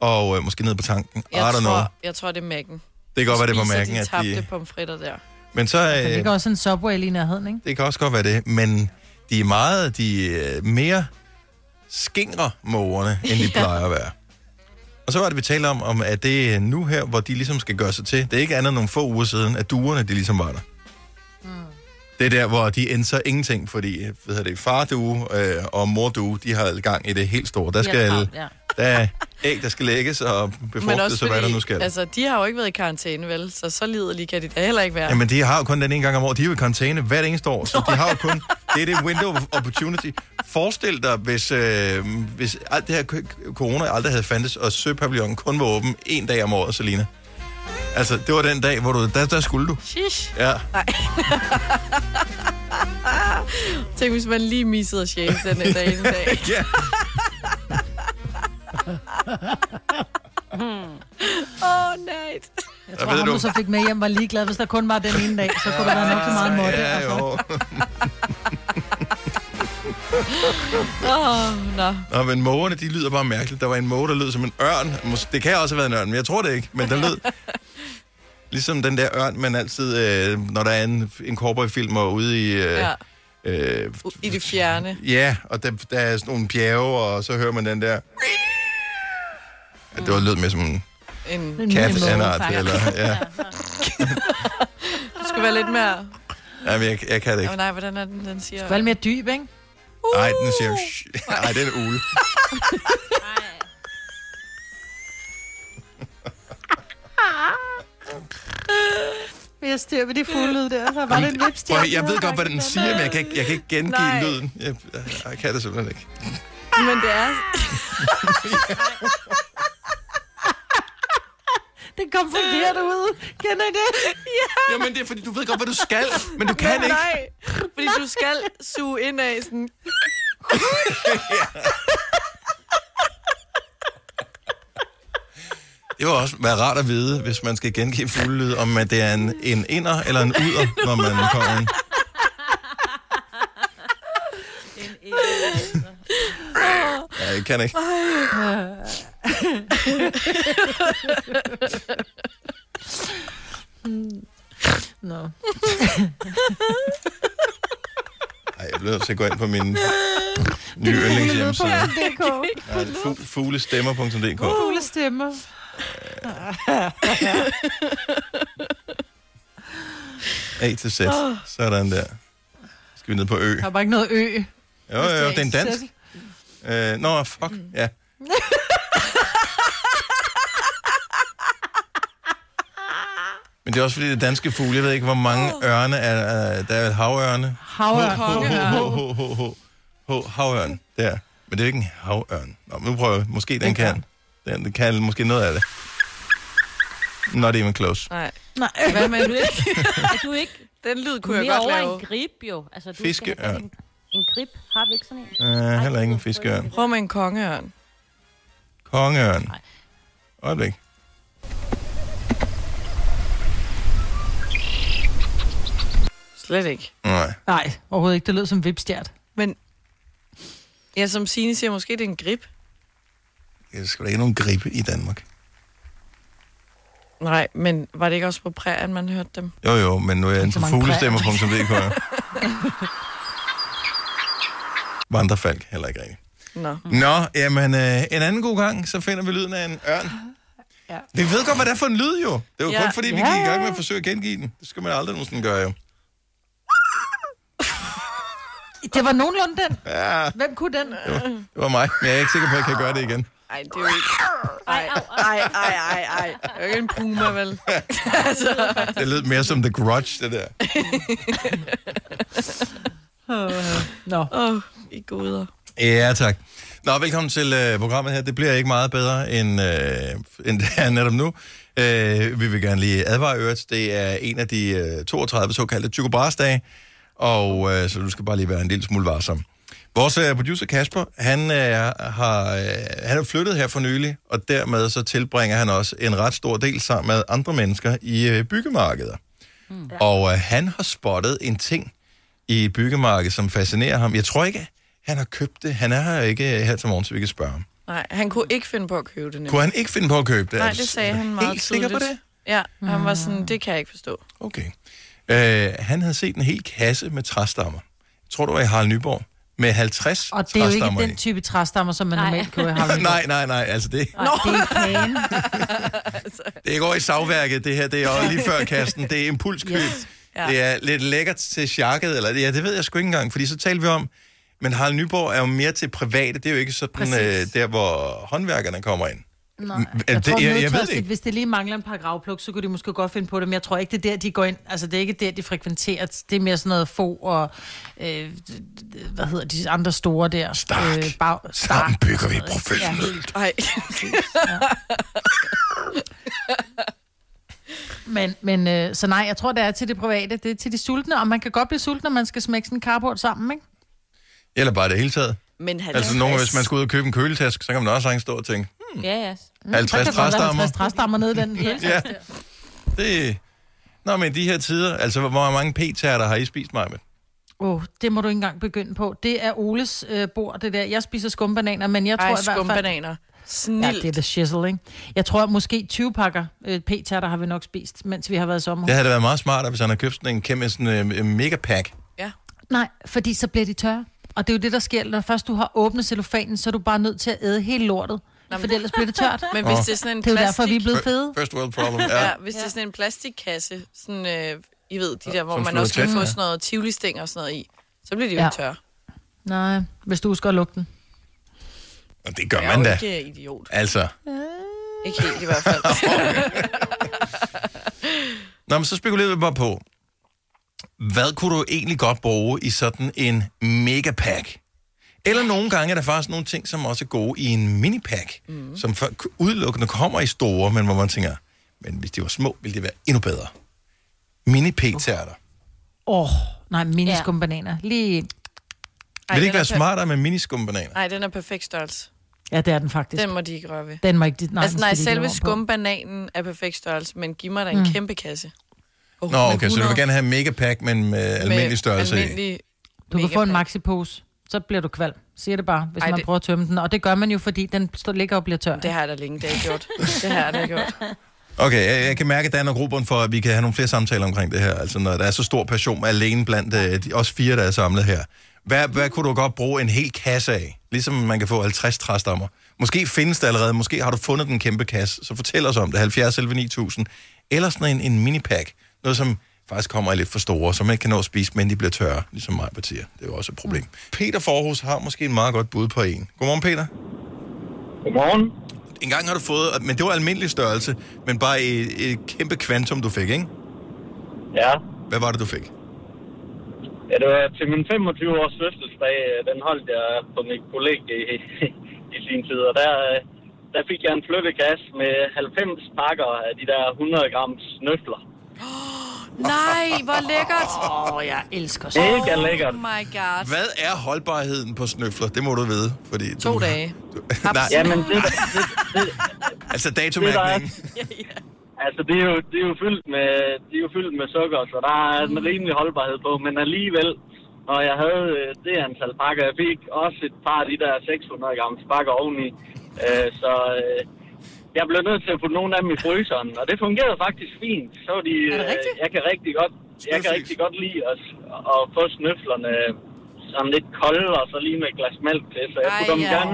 Og øh, måske ned på tanken. I
Jeg
don't know.
tror, jeg tror, det er Mac'en.
Det kan godt være, det er på
spiser
mærken,
de
at
tabte
de-
pomfritter der.
Men så,
Der
øh,
ligger også en Subway lige i nærheden, ikke?
det kan også godt være det, men de er meget, de er mere skingre mågerne, end de
Ja.
plejer at være. Og så var det, vi talte om, om at det er nu her, hvor de ligesom skal gøre sig til. Det er ikke andet end nogle få uger siden, at duerne, de ligesom var der.
Mm.
Det er der, hvor de ændrer så ingenting, fordi øh, hvad hedder det, far due øh, og mor due, de har gang i det helt store. Der skal,
ja.
der er æg, der skal lægges og
Men
befrugtes,
også
og hvad der
fordi,
nu skal.
altså, de har jo ikke været i karantæne, vel? Så så liderlige kan de da heller ikke være.
Jamen, de har jo kun den ene gang om året. De er jo i karantæne hvert eneste år, så de har jo kun... Det er det window of opportunity. Forestil dig, hvis, øh, hvis alt det her k- corona aldrig havde fandtes, og søpavillonen kun var åben en dag om året, Selina. Altså, det var den dag, hvor du... Der, der skulle du.
Shish.
Ja.
Nej. Tænk, hvis man lige missede at shave den en dag en dag.
ja.
Hmm. Åh, oh, nej.
Jeg
Hvad
tror,
ved
ham,
du?
du så fik med hjem, var ligeglad, hvis der kun var den ene dag, så kunne der være nok så meget måtte.
Ja, jo.
Åh, oh, nå.
Nå, men mågerne, de lyder bare mærkeligt. Der var en måge, der lød som en ørn. Mås- Det kan også have været en ørn, men jeg tror det ikke. Men den lød ligesom den der ørn, man altid, øh, når der er en, en cowboyfilm og ude i... Øh,
Ja.
ja. Øh,
I det fjerne.
ja, og der, der er sådan nogle bjerge, og så hører man den der... Ja, det var lød mere som en
En,
kat anart, eller... Ja.
Du skal være lidt mere...
Ja, men jeg, jeg kan det
Oh,
ikke.
nej, hvordan er den, den siger?
Skal være lidt mere dyb, ikke?
Nej, den
Uh!
siger... "Shh." Nej, den er ude.
Vil jeg styr med de fuglelyd der, så var det en vipstjerne.
Prøv, at- jeg ved godt, hvad den siger, men jeg kan ikke, jeg kan ikke gengive
Nej.
lyden. Jeg, jeg, jeg kan det simpelthen ikke.
Men det er...
Det kom forkert ud. Kender I det?
Ja. Jamen, det er fordi, du ved godt, hvad du skal, men du kan
Men
ikke.
Nej, fordi du skal suge ind af sådan...
Det var også være rart at vide, hvis man skal gengive fuglelyd, om at det er en, en inder eller en uder, når man kommer ind. Ja, jeg kan ikke.
Nå.
Ej, jeg bliver nødt til at gå ind på min nye yndlingshjemmeside.
Fuglelyd.dk.
Nej, fu- Fuglestemmer.dk.
Fugle stemmer.
A til Z. Sådan der. Skal vi ned på ø.
Der var ikke noget ø.
Jo, jo, jo, det er en dansk. Øh, Nå, fuck, ja. Men det er også fordi, det er danske fugle. Jeg ved ikke, hvor mange ørne er, er der er vel havørne.
Havørn.
Ho, ho, ho, ho, ho, havørn, der. Men det er jo ikke en havørn. Nå, men nu prøver jeg. Måske den kan. Den, den kan måske noget af det. Not even close.
Nej.
Nej.
Hvad med
du
det?
ikke? Er du ikke?
Den lyd kunne jeg
mere
godt
over
lave.
en grib, jo. Altså, du skal
Fiskeørn.
have fat i En, en grib. Har vi ikke sådan en?
Uh, heller ikke en fiskeørn.
Prøv med en kongeørn.
Kongeørn. Øjeblik.
Slet ikke.
Nej.
Nej, overhovedet ikke. Det lød som vipstjert.
Men... Ja, som Signe siger, måske det er en grip.
Der skal da ikke nogen gribe i Danmark.
Nej, men var det ikke også på prærien, man hørte dem?
Jo, jo, men nu er jeg inde på
så mange
fuglestemmer.dk. ja. Vandrefalk, heller ikke rigtigt.
Nå.
Nå, jamen, øh, en anden god gang, så finder vi lyden af en ørn. Ja. Vi ved godt, hvad det er for en lyd, jo. Det var
Ja.
ja. kun fordi, vi
Ja.
gik i gang med at forsøge at gengive den. Det skal man aldrig nogensinde gøre, jo.
Det var nogenlunde den.
Ja, det
Hvem kunne den?
var mig, men jeg er ikke sikker på, at jeg kan gøre det igen.
Ej, det er jo ikke... Ej, ej, ej, ej, ej. Det er jo ikke en puma, vel? altså.
Det lød mere som The Grudge, det der.
Nå.
Åh, oh, I goder.
Ja, tak. Nå, velkommen til øh, programmet her. Det bliver ikke meget bedre, end, øh, end det er netop nu. Øh, vi vil gerne lige advare øvrigt. Det er en af de øh, 32 såkaldte Tycho og øh, så du skal bare lige være en lille smule varsom. Vores øh, producer Kasper, han, øh, har, øh, han er flyttet her for nylig, og dermed så tilbringer han også en ret stor del sammen med andre mennesker i øh, byggemarkeder. Mm. Og øh, han har spottet en ting i byggemarkedet, som fascinerer ham. Jeg tror ikke, han har købt det. Han er her ikke øh, her til morgen, så vi kan spørge ham.
Nej, han kunne ikke finde på at købe det. Nemlig.
Kunne han ikke finde på at købe det? Altså, Er
Nej,
du
det sagde han meget
Helt sikker på det?
tydeligt. Ja, han
Hmm.
var sådan, det kan jeg ikke forstå.
Okay. Øh, han havde set en hel kasse med træstammer. Jeg tror, det var i Harald Nyborg. Med 50
Og det er jo ikke
træstammer
den type træstammer, som man
Nej.
normalt kører i
i.
Harald.
nej, nej, nej. Altså det,
Nå. Det er en kage.
det går i savværket, det her. Det er også lige før kasten. Det er impulskøb. Yes.
Ja.
Ja. Det er lidt lækkert til sjakket, eller ja, det ved jeg sgu ikke engang, fordi så talte vi om, men Harald Nyborg er jo mere til private, det er jo ikke sådan
Præcis.
øh, der, hvor håndværkerne kommer ind.
Nej.
M- er
Jeg,
det-
tror,
jeg- jeg ved
jeg,
det ikke.
Hvis det lige mangler en par gravpluk, så kunne de måske godt finde på det, men jeg tror ikke, det er der, de går ind. Altså, det er ikke der, de frekventerer. Det er mere sådan noget få og, øh, d- d- hvad hedder de andre store der? Stark. Øh, bag, stark. Sammen
bygger vi
professionelt.
Ja, helt.
Men, men øh, så nej, jeg tror, det er til det private. Det er til de sultne, og man kan godt blive sulten, når man skal smække sådan en carport sammen, ikke?
Eller bare det hele taget.
Men
Altså nogen, hvis man skal ud og købe en køletask, så kan man også sagtens stå og tænke,
Ja, ja.
Mm, 50
der kan godt være
træstammer.
50 træstammer nede i den hele
ja, "Hmm, det... Nå, men i de her tider, altså hvor mange p-tærter har I spist mig med?
Åh, oh, det må du ikke engang begynde på. Det er Oles øh, bord, det der. Jeg spiser skumbananer, men jeg
Ej,
tror i hvert fald...
skumbananer. Snilt.
Ja, det er the shizzle, ikke? Jeg tror måske 20 pakker øh, p-tærter har vi nok spist, mens vi har været i sommer.
Det havde da været meget smart, hvis han havde købt sådan en kæmpe sådan, øh, mega pack.
Nej, fordi så bliver de tørre. Og det er jo det, der sker, når først du har åbnet cellofanen, så er du bare nødt til at æde hele lortet. for ellers bliver det tørt.
Men hvis det er sådan en
Det er jo derfor, vi er blevet
plastik-
fede.
First world problem,
ja.
ja.
ja, hvis det er sådan en plastikkasse, sådan, øh, I ved, de der, hvor
Som
man
flyver
også kan
tæt,
få
ja.
sådan noget tivoli-stænger og sådan noget i, så bliver de jo
Ja.
ja. tørre.
Nej, hvis du husker at lukke den.
Og det gør
Jeg er
man
jo
da.
ikke idiot.
Altså.
Ikke helt i hvert fald.
Nå, men så spekulerede vi bare på, hvad kunne du egentlig godt bruge i sådan en mega pack? Eller nogle gange er der faktisk nogle ting, som også er gode i en minipack, mm. som for, udelukkende kommer i store, men hvor man tænker, men hvis de var små, ville det være endnu bedre. mini p tærter
Åh, oh, nej, miniskumbananer. Lige...
Vil det ikke være smartere med miniskumbananer?
Nej, den er perfekt størrelse.
Ja, det er den faktisk.
Den må de ikke røre ved.
Den må ikke... Nej,
altså
den skal
nej,
de ikke
selve
lave om på.
skumbananen er perfekt størrelse, men giv mig da en
Mm.
kæmpe kasse.
Nå, okay, så du
100.
vil gerne have en mega pack, men med øh, almindelig størrelse i.
almindelig
Du kan
mega
få en
pack.
maxipose, så bliver du kvalm. Siger det bare, hvis
Ej,
Ej, man
det-
prøver at tømme den. Og det gør man jo, fordi den står ligger og bliver tør.
Det har jeg da længe dag gjort. Det har jeg da gjort.
Okay, jeg, jeg kan mærke, at der er noget grobund for, at vi kan have nogle flere samtaler omkring det her. Altså, når der er så stor passion alene blandt øh, de, os fire, der er samlet her. Hvad, hvad kunne du godt bruge en hel kasse af? Ligesom man kan få 50 træstammer. Måske findes det allerede, måske har du fundet den kæmpe kasse. Så fortæl os om det, 70 11 9000. Eller sådan en, en minipack. Noget, som faktisk kommer i lidt for store, som man ikke kan nå at spise, men de bliver tørre, ligesom mig partier. Det er jo også et problem. Peter Forhus har måske en meget godt bud på en. Godmorgen, Peter.
Godmorgen.
En gang har du fået, men det var almindelig størrelse, men bare et, et kæmpe kvantum, du fik, ikke?
Ja.
Hvad var det, du fik?
Ja, det var til min 25-års fødselsdag, øh, den holdt jeg på mit kollega i, i sin tid, og der, øh, der fik jeg en flyttekasse med 90 pakker af de der 100 grams snøfler.
Nej, hvor lækkert.
Åh, oh, jeg elsker
Mega lækkert.
Oh my god.
Hvad er holdbarheden på snøfler? Det må du vide, fordi...
To
du...
dage.
Nej,
Jamen, det, det, det,
altså
det, der er,
datomærkningen.
altså, det er jo, det er jo fyldt med, det er jo fyldt med sukker, så der er en rimelig holdbarhed på, men alligevel, når jeg havde øh, det antal pakker, jeg fik også et par af de der 600 grams pakker oveni, øh, så øh, jeg blev nødt til at putte nogle af dem i fryseren, og det fungerede faktisk fint. Så var de, øh, jeg kan rigtig godt, jeg kan rigtig godt lide at, at få snøflerne øh, sådan lidt kolde, og så lige med et glas mælk til, så jeg putter dem gerne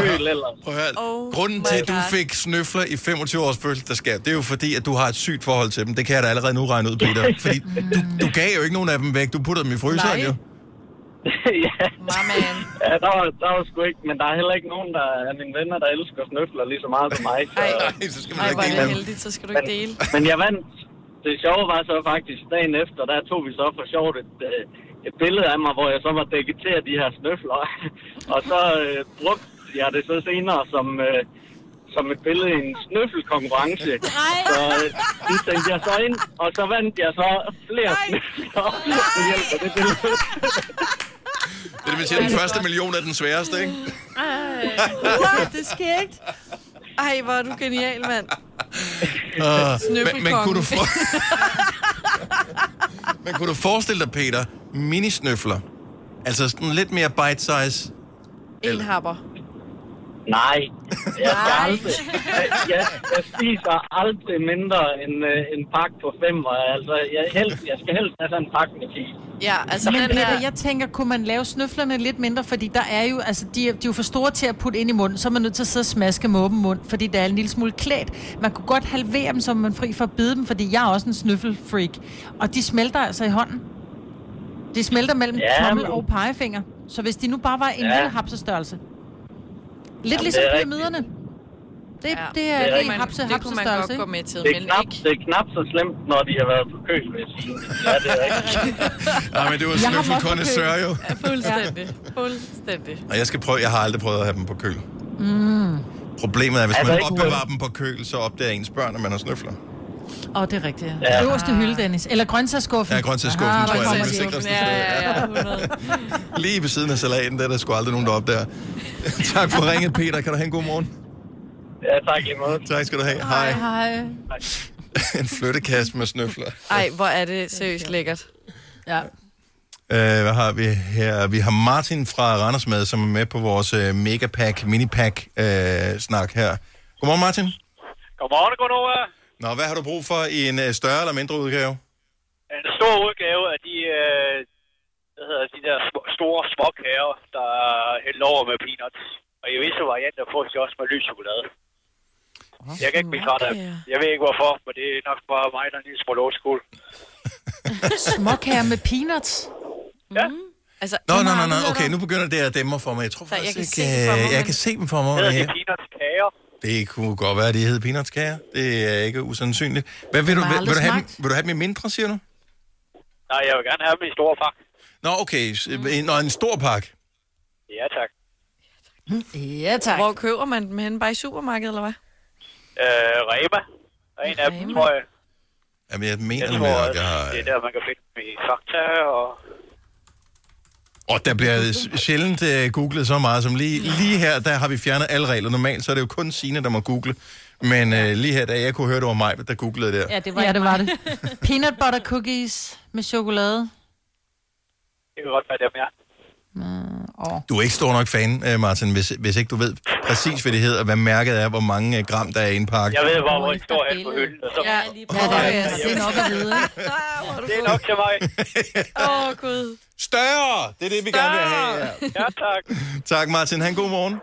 køl ellers.
Prøv at høre.
Oh
Grunden til, at du fik snøfler i 25-års fødselsdagsgave, det er jo fordi, at du har et sygt forhold til dem. Det kan jeg da allerede nu regne ud, Peter. Fordi du, du gav jo ikke nogen af dem væk. Du puttede dem i fryseren,
Nej.
jo.
ja. ja, der var, der var sgu ikke, men der er heller ikke nogen der af mine venner, der elsker snøfler lige så meget som mig. Så,
Ej, så skal
Ej, hvor er det heldigt, så skal du ikke dele.
Men jeg vandt. Det sjove var så faktisk dagen efter, der tog vi så for sjovt et, øh, et billede af mig, hvor jeg så var dækket til af de her snøfler. og så øh, brugte jeg det så senere som, øh, som et billede i en snøffelkonkurrence. Så øh, det sendte jeg så ind, og så vandt jeg så flere snøfler. Det hjælper det billede.
Det vil sige, at den første million er den sværeste, ikke?
Ej, det sker ikke. Ej, hvor er du genial, mand.
Uh, men, men,
Snøffelkongen.
kunne du for... men kunne du forestille dig, Peter, minisnøfler? Altså sådan lidt mere bite-size.
En happer.
Nej, jeg, skal aldrig, jeg, jeg, jeg spiser aldrig mindre end øh, en pakke på fem. Altså, jeg, helst, jeg skal helst have sådan en pakke med ti.
Ja,
Altså,
altså
Men
den
Peter,
der...
jeg tænker, kunne man lave snøflerne lidt mindre? Fordi der er jo, altså, de, er, de er jo for store til at putte ind i munden, så er man nødt til at sidde og smaske med åben mund, fordi der er en lille smule klædt. Man kunne godt halvere dem, så man er fri for at bide dem, fordi jeg er også en snøffelfreak. Og de smelter altså i hånden. De smelter mellem
Ja,
ja, tommel
men-
og pegefinger. Så hvis de nu bare var en
Ja.
ja. lille hapsestørrelse. Lidt
Jamen,
Jamen, ligesom
det er rigtigt.
pyramiderne. Det, ja. det
Det
er,
er
det er
rigtigt.
hapse,
Det kunne man godt
hapsestørrelse,
gå med til,
Det er,
men
knap, det er knap så slemt, når de har været på kø, vil jeg sige. Ja, det er rigtigt.
Nej, men det var
Jeg har
snøffel
også
kun
forsøgt.
sør, jo.
Ja, fuldstændig. Fuldstændig.
Og jeg skal prøve, jeg har aldrig prøvet at have dem på køl.
Mm.
Problemet er, hvis
Er
Altså,
der
man
ikke
opbevarer dem på køl, så opdager ens børn, at man har snøfler.
Åh, oh, det er rigtigt.
Ja.
Ja. Øverste hylde, Dennis. Eller grøntsagsskuffen.
Ja, grøntsagsskuffen,
Ah,
tror jeg, det er det sikreste
grøntsagsskuffen.
sted. Ja. Lige ved siden af salaten, der er der sgu aldrig nogen, der opdager. tak for ringet, Peter. Kan du have en god morgen?
Ja, tak lige måde.
Tak skal du have. Hej.
Hej.
en flyttekasse med snøfler.
Ej, hvor er det seriøst lækkert.
Ja.
Øh, hvad har vi her? Vi har Martin fra Randers med, som er med på vores øh, megapack, minipack-snak øh, snak her. Godmorgen, Martin.
Godmorgen, Gunova.
Nå, hvad har du brug for i en øh, større eller mindre udgave?
En stor udgave af de, øh, hvad hedder, de der sm- store småkager, der er hældt over med peanuts. Og i visse varianter får de også med lys chokolade. Jeg kan ikke blive træt af dem. Jeg ved ikke hvorfor, men det er nok bare mig, der er en lille smule old school.
Småkager med peanuts. Mm.
Ja.
Altså,
Nå, nej, nej, nej. Okay, nu begynder det at dæmme for mig. Jeg tror
Så jeg
faktisk
kan
ikke,
se det for
øh,
mig,
jeg
men-
kan se dem for mig.
Hedder
ja.
de peanuts kager?
Det kunne godt være, at de hed peanutskager. Det er ikke usandsynligt. Hvad vil,
Dem
du,
har jeg
vil, vil, du
aldrig
have, dem- vil du have dem i mindre, siger du?
Nej, jeg vil gerne have dem i store pakke.
Nå, okay. s- øh, En, og en stor pakke.
Ja, tak.
Ja, tak.
Hvor køber man dem henne? Bare i supermarkedet, eller hvad?
Øh, Rema. Og en af dem, tror jeg.
Jamen, jeg mener
Jeg
det med,
tror,
at jeg har...
det er der, man kan finde dem i Fakta og...
Og der bliver s- sjældent øh, googlet så meget som lige, lige her, der har vi fjernet alle regler. Normalt så er det jo kun Signe, der må google. Men øh, lige her, da jeg kunne høre, det var mig, der googlede der.
Ja, det var, ja, det, var det. Peanut butter cookies med chokolade.
Det kan godt være dem, ja.
Du er ikke stor nok fan, øh, Martin, hvis, hvis ikke du ved præcis, hvad det hedder, hvad mærket er, hvor mange øh, gram der er i en pakke.
Jeg ved bare, hvor de står hen på hylden. Og så... Ja,
Ja, det er, det er nok at vide, ikke?
Det er nok til mig.
Åh, oh, Gud.
Større! Det er det, vi gerne vil have. Ja.
Ja, tak.
Tak, Martin. Han god morgen.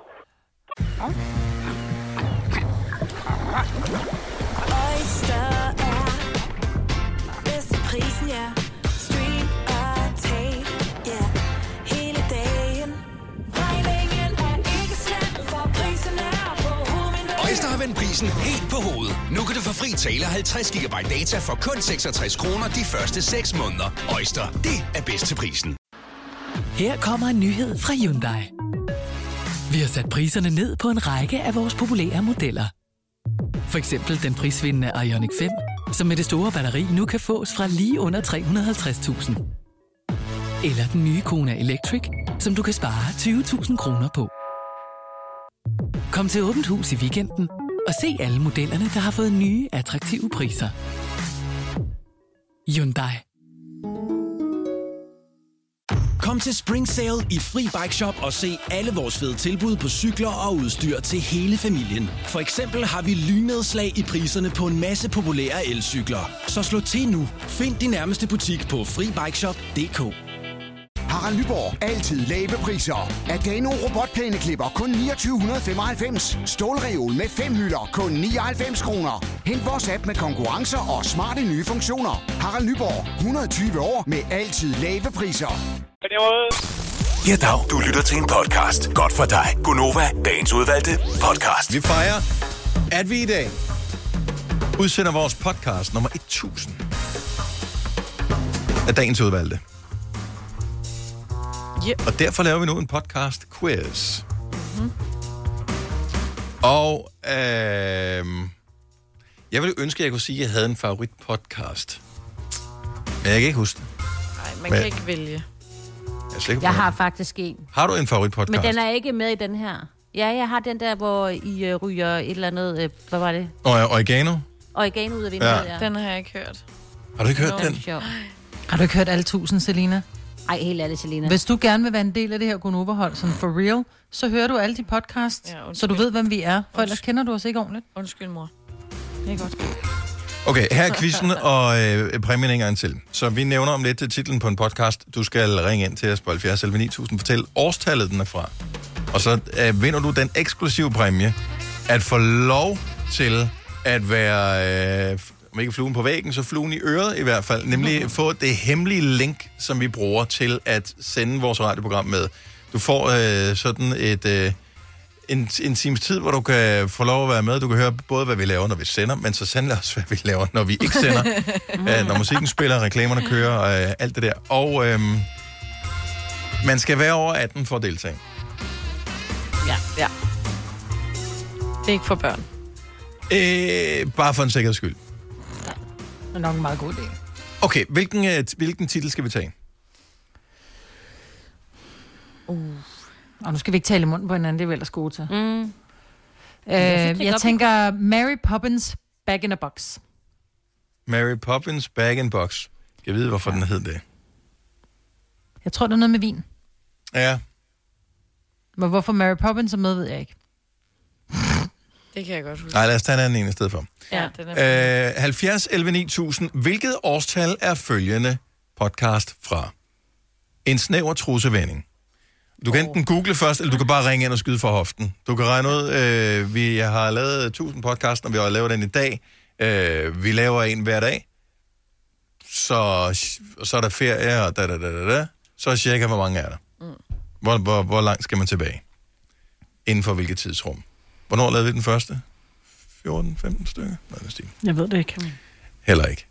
Oyster er bedst til prisen, ja. Stream og tag, ja. Hele dagen. Regningen er ikke slem, for prisen er på
Øjster har vendt prisen helt på hovedet. Nu kan du få fri tale 50 GB data for kun 66 kroner de første 6 måneder. Øjster, det er bedst til prisen.
Her kommer en nyhed fra Hyundai. Vi har sat priserne ned på en række af vores populære modeller. For eksempel den prisvindende Ioniq 5, som med det store batteri nu kan fås fra lige under 350.000. Eller den nye Kona Electric, som du kan spare 20.000 kroner på. Kom til Åbent Hus i weekenden og se alle modellerne, der har fået nye, attraktive priser. Hyundai.
Kom til Spring Sale i Fri Bike Shop og se alle vores fede tilbud på cykler og udstyr til hele familien. For eksempel har vi lynedslag i priserne på en masse populære elcykler. Så slå til nu. Find din nærmeste butik på FriBikeShop.dk
Harald Nyborg. Altid lave priser. Adano robotplæneklipper kun 2995. Stålreol med fem hylder kun 99 kroner. Hent vores app med konkurrencer og smarte nye funktioner. Harald Nyborg. 120 år med altid lave priser.
På den måde.
Ja, dag. Du lytter til en podcast. Godt for dig. Gunova, dagens udvalgte podcast.
Vi fejrer, at vi i dag udsender vores podcast nummer 1000 af dagens udvalgte.
Yep.
Og derfor laver vi nu en podcast quiz.
Mm-hmm.
Og øh, jeg ville ønske, at jeg kunne sige, at jeg havde en favorit podcast. Men jeg kan ikke huske det.
Nej,
man
Men
kan ikke
vælge.
Jeg er sikker på
Jeg
det.
har faktisk en.
har du en favorit podcast?
Men den er ikke med i den her. Ja, jeg har den der, hvor I øh, ryger et eller andet... Øh, hvad var det?
Og oregano?
Oregano ud af vinduet,
Ja.
ja.
Den har jeg ikke hørt.
Har du ikke hørt
Nå,
den?
sjov.
Har du ikke hørt alle tusind, Selina?
Ej, helt ærligt, Selina.
Hvis du gerne vil være en del af det her Gunova-hold, sådan for real, så hører du alle de podcasts, ja, så du ved, hvem vi er. For ellers kender du os ikke ordentligt.
Undskyld, mor.
Det er godt.
Okay, her er quizzen og øh, præmien en gang til. Så vi nævner om lidt til titlen på en podcast. Du skal ringe ind til os på 70 11 9000. Fortæl årstallet, den er fra. Og så øh, vinder du den eksklusive præmie at få lov til at være, øh, om ikke fluen på væggen, så fluen i øret i hvert fald. Nemlig få det hemmelige link, som vi bruger til at sende vores radioprogram med. Du får øh, sådan et... Øh, en, en times tid, hvor du kan få lov at være med. Du kan høre både, hvad vi laver, når vi sender, men så sandelig også, hvad vi laver, når vi ikke sender. øh, når musikken spiller, reklamerne kører og øh, alt det der. Og øh, man skal være over 18 for at deltage.
Ja, ja. Det er ikke for børn.
Øh, bare for en sikkerheds skyld.
Det er nok en meget god idé.
Okay, hvilken, øh, t- hvilken titel skal vi tage?
Uh. Og nu skal vi ikke tale i munden på hinanden, det er vi ellers gode til. Mm. Øh,
jeg
jeg,
fik op-
tænker Mary Poppins Back in a Box.
Mary Poppins Bag in Box. Skal jeg vide, hvorfor den hed det?
Jeg tror, det er noget med vin.
Ja,
Men hvorfor Mary Poppins er med, ved jeg ikke.
Det kan jeg godt huske.
nej, lad os tage den anden en i stedet for.
Ja, den er
Øh, 70 11 9000. Hvilket årstal er følgende podcast fra? En snæver trusevending. Du kan enten google først, eller du kan bare ringe ind og skyde for hoften. Du kan regne ud, øh, vi har lavet 1000 podcast, og vi har lavet den i dag. Øh, vi laver en hver dag. Så, og så er der ferie, og da, da, da, da, da. Så cirka, hvor mange er der? Mm. Hvor, hvor, hvor langt skal man tilbage? Inden for hvilket tidsrum? Hvornår lavede vi den første? 14-15 stykker? Nej, det
Jeg ved det ikke.
Heller ikke.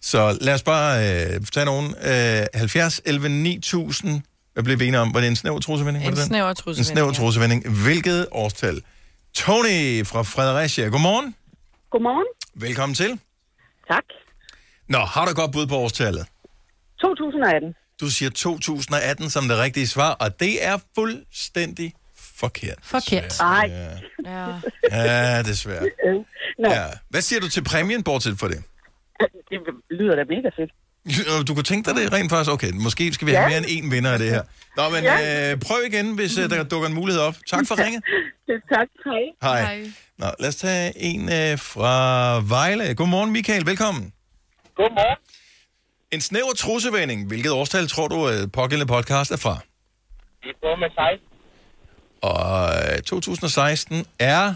Så lad os bare øh, tage nogen. Øh, 70, 11, 9000. Hvad blev vi enige om? Var det en snæver trusevending? Var
En
det den?
snæver
En
trusevending,
snæver
ja.
trusevending. Hvilket årstal? Tony fra Fredericia. Godmorgen.
Godmorgen.
Velkommen til.
Tak.
Nå, har du et godt bud på årstallet?
2018.
Du siger 2018 som det rigtige svar, og det er fuldstændig forkert.
Forkert.
Nej.
Ja.
Ja, desværre.
Nå,
Ja. Hvad siger du til præmien, bortset for det?
det lyder da mega fedt.
Du kunne tænke dig det rent faktisk? Okay, måske skal vi have mere end én vinder af det her. Nå, men
Ja.
øh, prøv igen, hvis øh, der dukker en mulighed op. Tak for ringet.
tak. Hej.
Hej. Nå, lad os tage en øh, fra Vejle. Godmorgen, Michael. Velkommen.
Godmorgen.
En snæver trussevending. Hvilket årstal tror du, øh, pågældende podcast er fra?
Vi prøver med 16.
Og øh, 2016 er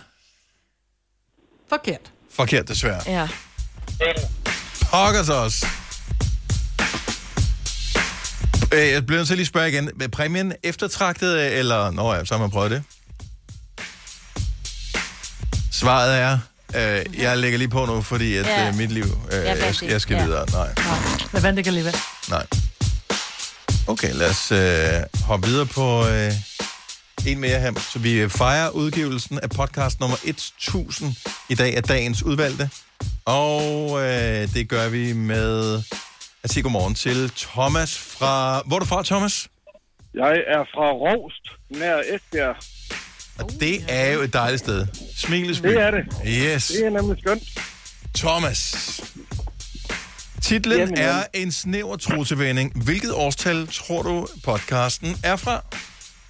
Forkert.
forkert, desværre.
Ja.
Pokkers os. Øh, jeg bliver nødt til at lige spørge igen. Er præmien eftertragtet, øh, eller... Nå ja, så har man prøvet det. Svaret er... Øh, jeg lægger lige på nu, fordi at
Ja.
øh, mit liv...
Ja,
Øh, jeg, jeg skal
ja.
videre. Nej.
Hvad vandt det kan leve?
Nej. Okay, lad os øh, hoppe videre på øh, en mere her. Så vi øh, fejrer udgivelsen af podcast nummer 1000 i dag af dagens udvalgte. Og øh, det gør vi med at sige godmorgen til Thomas fra... Hvor er du fra, Thomas?
Jeg er fra Rovst, nær Esbjerg.
Og det er jo et dejligt sted. Smilesby.
Det er det.
Yes.
Det er nemlig skønt.
Thomas. Titlen
Jamen,
er
jamen.
En snæver trosevending. Hvilket årstal tror du, podcasten er fra?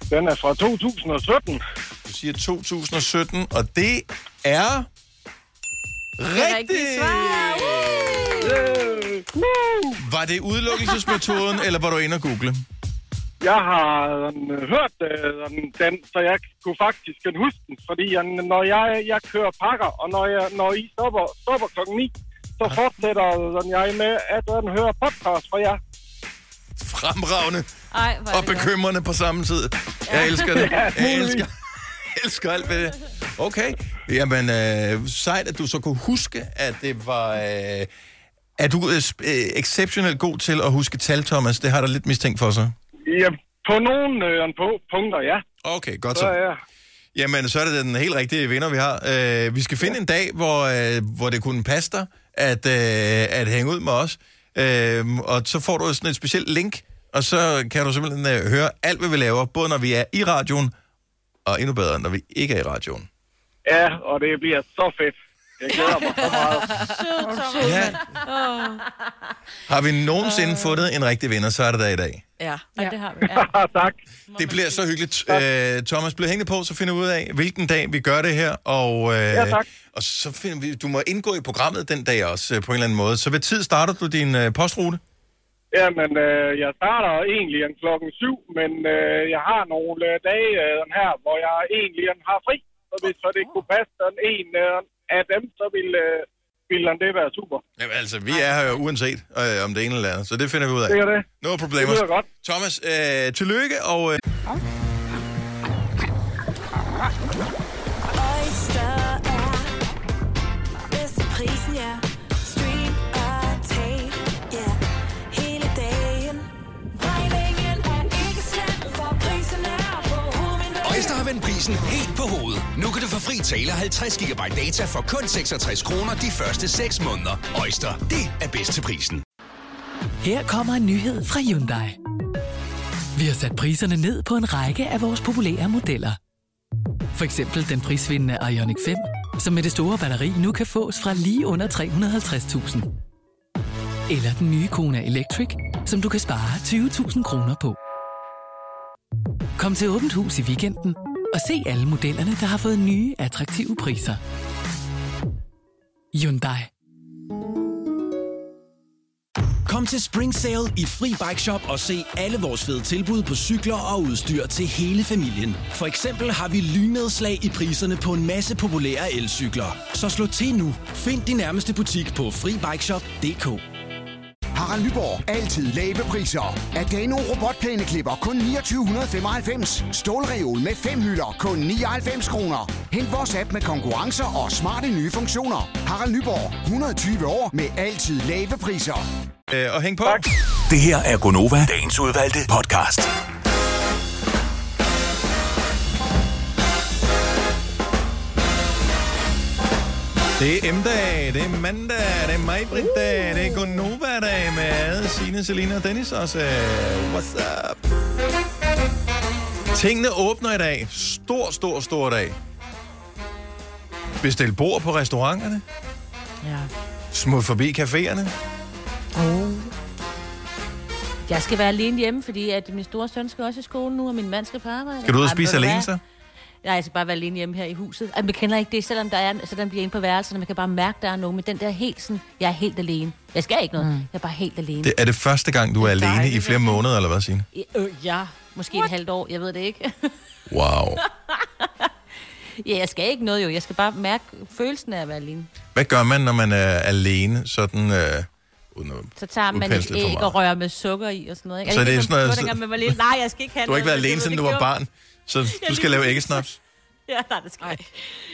Den er fra 2017.
Du siger 2017, og det er... Rigtigt! Var det udelukkelsesmetoden, eller var du inde og google?
Jeg har øh, hørt øh, om den, så jeg kunne faktisk kan huske den, fordi jeg, når jeg, jeg kører pakker, og når, jeg, når I stopper, stopper klokken 9, så fortsætter øh, jeg med at øh, høre podcast fra jer.
Fremragende
Ej, hvor er
og
det godt.
bekymrende på samme tid. Jeg elsker det. Jeg elsker, jeg elsker alt ved det. Okay. Jamen, øh, sejt, at du så kunne huske, at det var... Øh, er du øh, sp- øh, exceptionelt god til at huske tal, Thomas? Det har jeg da lidt mistænkt for sig.
Ja, på nogle øh, på punkter, ja.
Okay, godt
så.
så.
ja.
Jamen, så er det den helt rigtige vinder, vi har. Øh, vi skal finde en dag, hvor, øh, hvor det kunne passe dig at, øh, at hænge ud med os. Øh, og så får du sådan et specielt link, og så kan du simpelthen øh, høre alt, hvad vi laver, både når vi er i radioen, og endnu bedre, når vi ikke er i radioen.
ja, og det bliver så fedt.
Jeg glæder mig så meget.
Sød
Thomas. Ja. Har vi nogensinde fundet en rigtig vinder, så er det der i dag.
Ja, ja. det har vi.
tak. Det bliver så hyggeligt. Øh, Thomas, bliv hængende på, så finder vi ud af, hvilken dag vi gør det her. Og, øh,
Ja, tak.
og så finder vi, du må indgå i programmet den dag også, øh, på en eller anden måde. Så ved tid starter du din øh, postrute?
Jamen, øh, jeg starter egentlig om klokken 7, men øh, jeg har nogle øh, dage øh, her, hvor jeg egentlig øh, har fri. Så hvis så det kunne passe den en øh, af dem, så ville, øh, ville øh, det være super.
Jamen altså, vi er her jo uanset øh, om det ene eller andet, så det finder vi ud af.
Det er det.
No problemer.
Det lyder godt.
Thomas, øh, tillykke, og øh,
Oyster er bedst til prisen, ja. Stream og tag, ja. Hele dagen. Regningen er ikke slem, for prisen er på hovedet.
Øjster har vendt prisen helt på hovedet. Nu kan du få fri tale 50 GB data for kun 66 kroner de første 6 måneder. Øjster, det er bedst til prisen.
Her kommer en nyhed fra Hyundai. Vi har sat priserne ned på en række af vores populære modeller. For eksempel den prisvindende Ioniq 5, som med det store batteri nu kan fås fra lige under 350.000. Eller den nye Kona Electric, som du kan spare 20.000 kroner på. Kom til Åbent Hus i weekenden og se alle modellerne, der har fået nye, attraktive priser. Hyundai.
Kom til Spring Sale i Fri Bike Shop og se alle vores fede tilbud på cykler og udstyr til hele familien. For eksempel har vi lynedslag i priserne på en masse populære elcykler. Så slå til nu. Find din nærmeste butik på FriBikeShop.dk
Harald Nyborg. Altid lave priser. Adano robotplæneklipper kun 2995. Stålreol med fem hylder kun 99 kroner. Hent vores app med konkurrencer og smarte nye funktioner. Harald Nyborg. 120 år med altid lave priser.
øh, og hæng på.
Det her er Gonova, dagens udvalgte podcast.
Det er M-dag, det er mandag, det er Majbrit-dag, det er Gonova-dag med Signe, Selina og Dennis også. øh, What's up? Tingene åbner i dag. Stor, stor, stor dag. Bestil bord på restauranterne.
Ja.
Smut forbi caféerne.
Oh. Jeg skal være alene hjemme, fordi at min store søn skal også i skole nu, og min mand skal på arbejde.
Skal du ud og
Ej, men
spise
ved du
alene
hvad?
så?
Nej, jeg skal bare være alene hjemme her i huset. Ej, man kender ikke det, selvom der er, så den bliver inde på værelserne. Man kan bare mærke, der er nogen. Men den der helt sådan, jeg er helt alene. Jeg skal ikke noget. Mm. Jeg er bare helt alene.
Det er det første gang, du er alene i flere måneder, eller hvad, Signe?
I- Øh, ja, måske What? et halvt år. Jeg ved det ikke.
Wow.
ja, jeg skal ikke noget jo. Jeg skal bare mærke følelsen af at være alene.
Hvad gør man, når man er alene, sådan... Øh, uden at
Så tager man et
udpensle for
æg
meget?
og rører med sukker i og sådan noget. Ikke?
Så
Er
det er
ikke
sådan noget-
man gjorde, dengang man var lille? Nej, jeg skal ikke have
Du har ikke
noget,
været
men
alene,
det
siden du
ved
var
jeg,
barn, så
lige
du skal lave
præcis.
æggesnaps.
Ja, nej, det skal jeg ikke.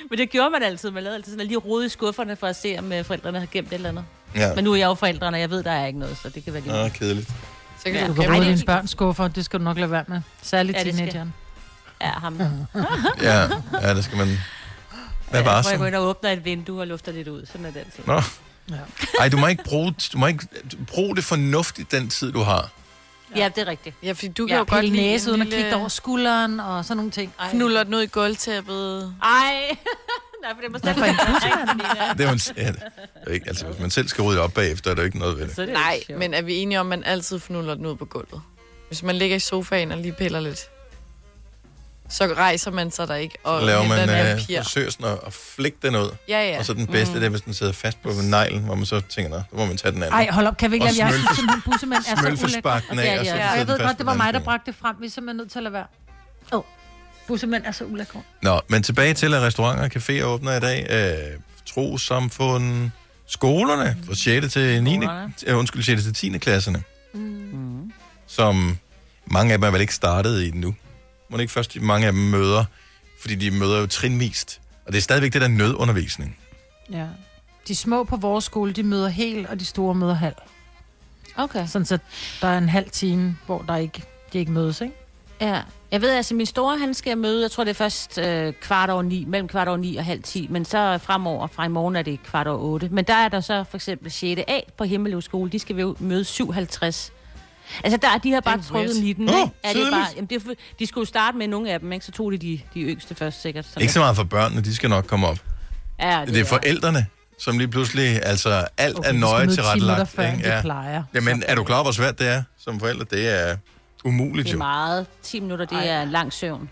Men det gjorde man altid. Man lavede altid sådan at lige rode i skufferne for at se, om øh, forerældrene har gemt et eller andet.
Ja.
Men nu er jeg jo forældrene, og jeg ved, der er ikke noget, så det kan være lige
Nå,
meget.
kedeligt.
Så
Du kan bruge dine børn skuffer, det skal du nok lade være med. Særligt
Ja,
ja,
det skal-
teenageren.
Ja, ham.
Ja, ja, det skal man... Hvad var
så? Jeg går
så?
ind og åbner et vindue og lufter lidt ud. Sådan er den ting.
Nå.
Ja.
Ej, du må ikke bruge, du må ikke bruge det fornuftigt, den tid, du har.
ja, det er rigtigt.
Ja, fordi du
Du
kan
kan
jo godt lide
næse,
en
uden at
lille-
kigge dig over skulderen og sådan nogle ting. Ej.
Knuller den ud i gulvtæppet.
Ej, nej, for det må stadig
for en
Det er jo en, ja, det er ikke, altså, hvis man selv skal rydde op bagefter, er der jo ikke noget ved det.
Nej, men er vi enige om, at man altid fnuller den ud på gulvet? Hvis man ligger i sofaen og lige piller lidt, så rejser man sig der ikke og
Så laver
henter
man
en
øh,
papir.
forsøger sådan at, at flække den ud.
Ja, ja.
Og så den bedste,
Mm.
det er, hvis den sidder fast på neglen, hvor man så tænker, nå, nu må man tage den anden.
Ej, hold op, kan vi ikke
Og
lade Jeg
smølfe-
synes simpelthen, bussemænd er så ulækre.
smølfespark den af, og så sidder
og jeg
den
ved
fast
godt,
på
det var
den
mig,
anden
der bragte det frem. Vi er simpelthen nødt til at lade være. Åh, oh. bussemænd er så ulækre.
Nå, men tilbage til, at restauranter og caféer åbner i dag. Øh, trosamfund, skolerne fra 6. til 9. Øh, undskyld, 6. til 10. klasserne,
Mm.
som mange af dem er vel ikke startet i nu. Må det ikke først de mange af dem møder, fordi de møder jo trinvist. Og det er stadigvæk det der nødundervisning.
Ja. De små på vores skole, de møder hel, og de store møder halv.
Okay.
Sådan så der er en halv time, hvor der ikke, de ikke mødes, ikke?
Ja. Jeg ved altså, min store, han skal møde, jeg tror det er først øh, kvart over ni, mellem kvart over ni og halv ti, men så fremover, fra i morgen er det kvart over otte. Men der er der så for eksempel 6. A på Himmeløv skole, de skal ved- møde 57. Altså der, er- de har bare trukket
weird.
19,
Åh,
ikke? Er det
tidligt.
bare, jamen, det er, for- de skulle jo starte med nogle af dem, ikke? Så tog de de, de yngste først sikkert.
Ikke så meget for børnene, de skal nok komme op.
Ja,
Det er forældrene, som lige pludselig, altså alt
Okay,
er
vi skal
nøje
møde 10
til rettelagt.
minutter før, end vi plejer.
Jamen, er du klar, over, hvor svært det er som forældre? Det er umuligt
Det er
jo.
meget. 10 minutter, det er lang søvn.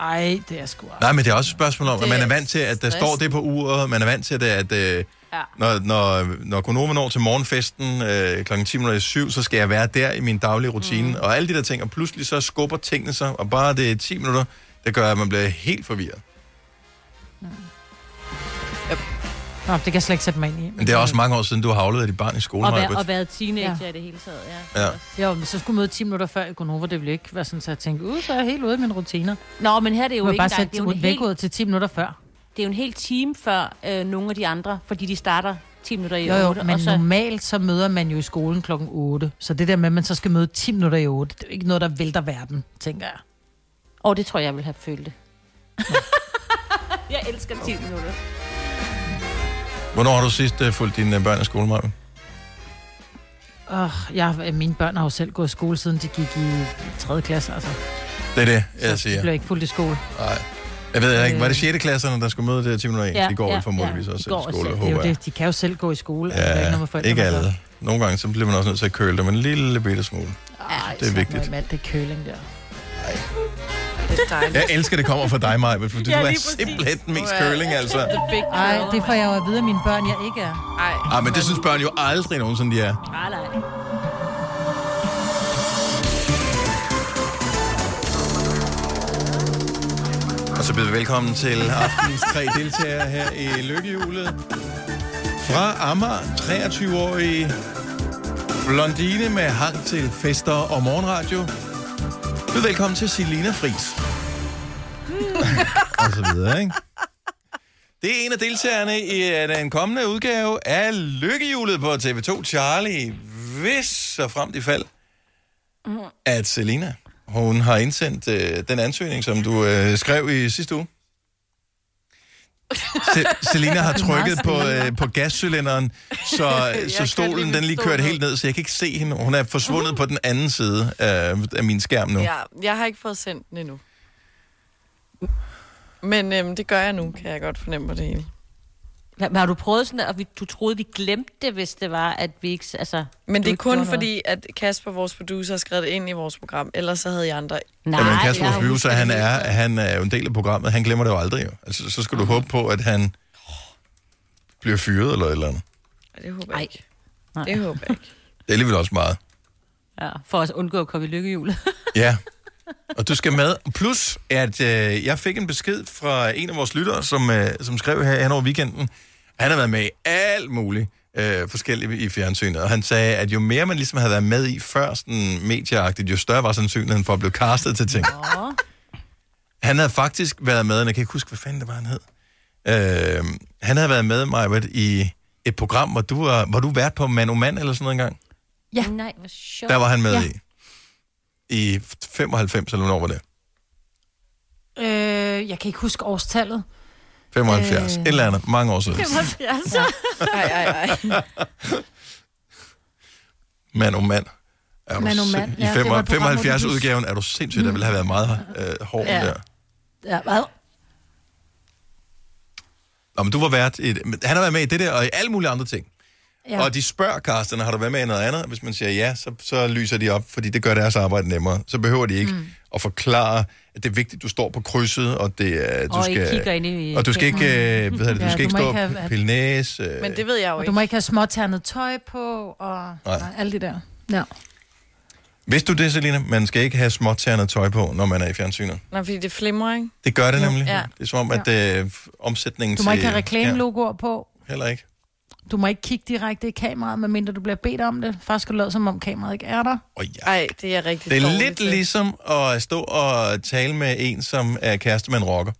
Ej, det er sgu
Nej, men det er også et spørgsmål om,
Det
at man er
er
vant til, at der
stress.
står det på uret, man er vant til det, at øh, ja. når, når, når konomen når til morgenfesten øh, kl. 10.07, så skal jeg være der i min daglige rutine, mm. og alle de der ting, og pludselig så skubber tingene sig, og bare det er 10 minutter, det gør, at man bliver helt forvirret.
Nå, det kan jeg slet ikke sætte mig ind i.
Men det er også mange år siden, du har afleveret dit barn i skole,
Og,
Maja.
være, og været teenager ja. i det hele taget, ja.
Ja.
Jo, men så skulle møde 10 minutter før i Gonova, det ville ikke være sådan, så jeg tænkte, uh, så er jeg helt ude af mine rutiner.
Nå, men her er det jo
Du kan
ikke
bare
engang-
sætte
det er jo en
en
hel-
vækkeud til 10 minutter før.
Det er jo en hel time før øh, nogle af de andre, fordi de starter 10 minutter i
Jo, jo,
8.
men
og så,
normalt så møder man jo i skolen klokken 8. Så det der med, at man så skal møde 10 minutter i 8, det er jo ikke noget, der vælter verden, tænker jeg.
Og det tror jeg, jeg vil have følt det. jeg elsker 10 minutter.
Hvornår har du sidst øh, fulgt dine øh, børn i skole, Maja?
Oh, jeg, mine børn har jo selv gået i skole, siden de gik i 3. klasse, altså.
Det er det, jeg
De blev Øh.
siger.
ikke fuldt i skole.
Nej. Jeg ved heller ikke, var det 6. klasserne, der skulle møde det 10 minutter i? Ja, de går ja, formodentlig ja, også
de
selv
går
i skole,
selv. Det er
håber
jo
jeg.
det, de kan jo selv gå i skole. altså, der er
Ja,
noget med forældrene,
ikke
der gør.
alle. Nogle gange, så bliver man også nødt til at køle dem en lille bitte smule.
Ej,
det er
slap nu
vigtigt.
af med alt det køling der.
Det er dejligt.
Jeg elsker, det kommer fra dig, Maja, for du
Ja,
er
lige præcis.
simpelthen den mest
Du er
køling, altså.
Ej, det får jeg jo at vide af mine børn, jeg ikke er.
Ej.
Ah, men det synes børn jo aldrig nogensinde, de er.
Nej, nej.
Og så byder vi velkommen til aftenens tre deltagere her i Lykkehjulet. Fra Amager, 23-årig blondine med hang til fester og morgenradio. Byd velkommen til Selina Fris. og så videre, ikke? Det er en af deltagerne i øh, den kommende udgave af Lykkehjulet på TV2 Charlie. Hvis så frem i fald,
Mm.
at Selina, hun har indsendt øh, den ansøgning, som du øh, skrev i sidste uge. Se- Selina har
Det er meget
trykket på,
spændende.
øh, på gascylinderen, så,
Jeg
så
kan
stolen
lige
den lige
forstå
kørte
det.
helt ned, så jeg kan ikke se hende. Hun er forsvundet på den anden side af, af min skærm nu.
Ja, jeg har ikke fået sendt den endnu. Men øhm, det gør jeg nu, kan jeg godt fornemme på det hele.
Hva- Har du prøvet sådan, at vi, du troede, vi glemte det, hvis det var, at vi ikke... Altså,
Men
du
det er
ikke gjorde
kun
noget?
fordi, at Kasper, vores producer, har skrevet det ind i vores program. Ellers så havde jeg andre...
Nej, Jamen, Kasper, vores producer, han er, han er jo en del af programmet. Han glemmer det jo aldrig. Jo. Altså, så skal du håbe på, at han bliver fyret eller et eller andet.
Det håber jeg ikke. Det håber jeg ikke.
Det er alligevel også meget.
Ja, for at undgå at komme i lykkehjulet.
Ja. Og du skal med. Plus, at øh, jeg fik en besked fra en af vores lyttere, som, øh, som skrev her hen over weekenden. Han har været med i alt muligt øh, forskelligt i fjernsynet. Og han sagde, at jo mere man ligesom havde været med i før, sådan medieagtigt, jo større var sandsynligheden for at blive castet til ting. Han havde faktisk været med, og jeg kan ikke huske, hvad fanden det var, han hed. Øh, han havde været med, Majbert, i et program, hvor du var, var du vært på Man Mand eller sådan noget engang.
Ja. Nej, hvor sjovt.
Der var han med
ja.
ja. i. I 95, eller hvornår var det?
Øh, jeg kan ikke huske årstallet.
75. Øh... Et eller andet. Mange år siden.
75. Ja.
Ej, ej, ej.
Mand om mand. Er du
Mand om
sind-
mand,
I
ja, det var et program, hvor de
75
viste-
udgaven er du sindssygt, der ville have været meget øh, hård ja.
Ja.
der.
Ja, hvad?
Nå, men du var vært i det. Men Han har været med i det der, og i alle mulige andre ting.
Ja.
Ja. Og de spørger Carsten, har du været med i noget andet? Hvis man siger ja, så, så lyser de op, fordi det gør deres arbejde nemmere. Så behøver de ikke mm. at forklare, at det er vigtigt, du står på krydset, og det er, du
Og I
skal...
kigger ind i
og du skal ikke,
kameraet.
øh, hvad hedder det, du
Ja,
skal
du
ikke
må
stå
ikke
og
have-
pille næse. øh,
Men det ved jeg jo
Og
ikke.
du må ikke have småternet tøj på, og
Nej.
nej. Nej, alt det der. Ja.
Vidste du det, Selina? Man skal ikke have småtærnet tøj på, når man er i fjernsynet.
Nej, fordi det flimrer, ikke?
Det gør det
Ja.
nemlig.
Ja.
Det er som om, at øh, omsætningen
Du må
til...
ikke have reklamelogoer på.
Ja, heller ikke.
Du må ikke kigge direkte i kameraet, medmindre du bliver bedt om det. Faktisk skal du lade, som om kameraet ikke er der.
Oh,
Ej, det er rigtig
Det er
dårligt
lidt
til.
ligesom at stå og tale med en, som er kæreste med en rocker.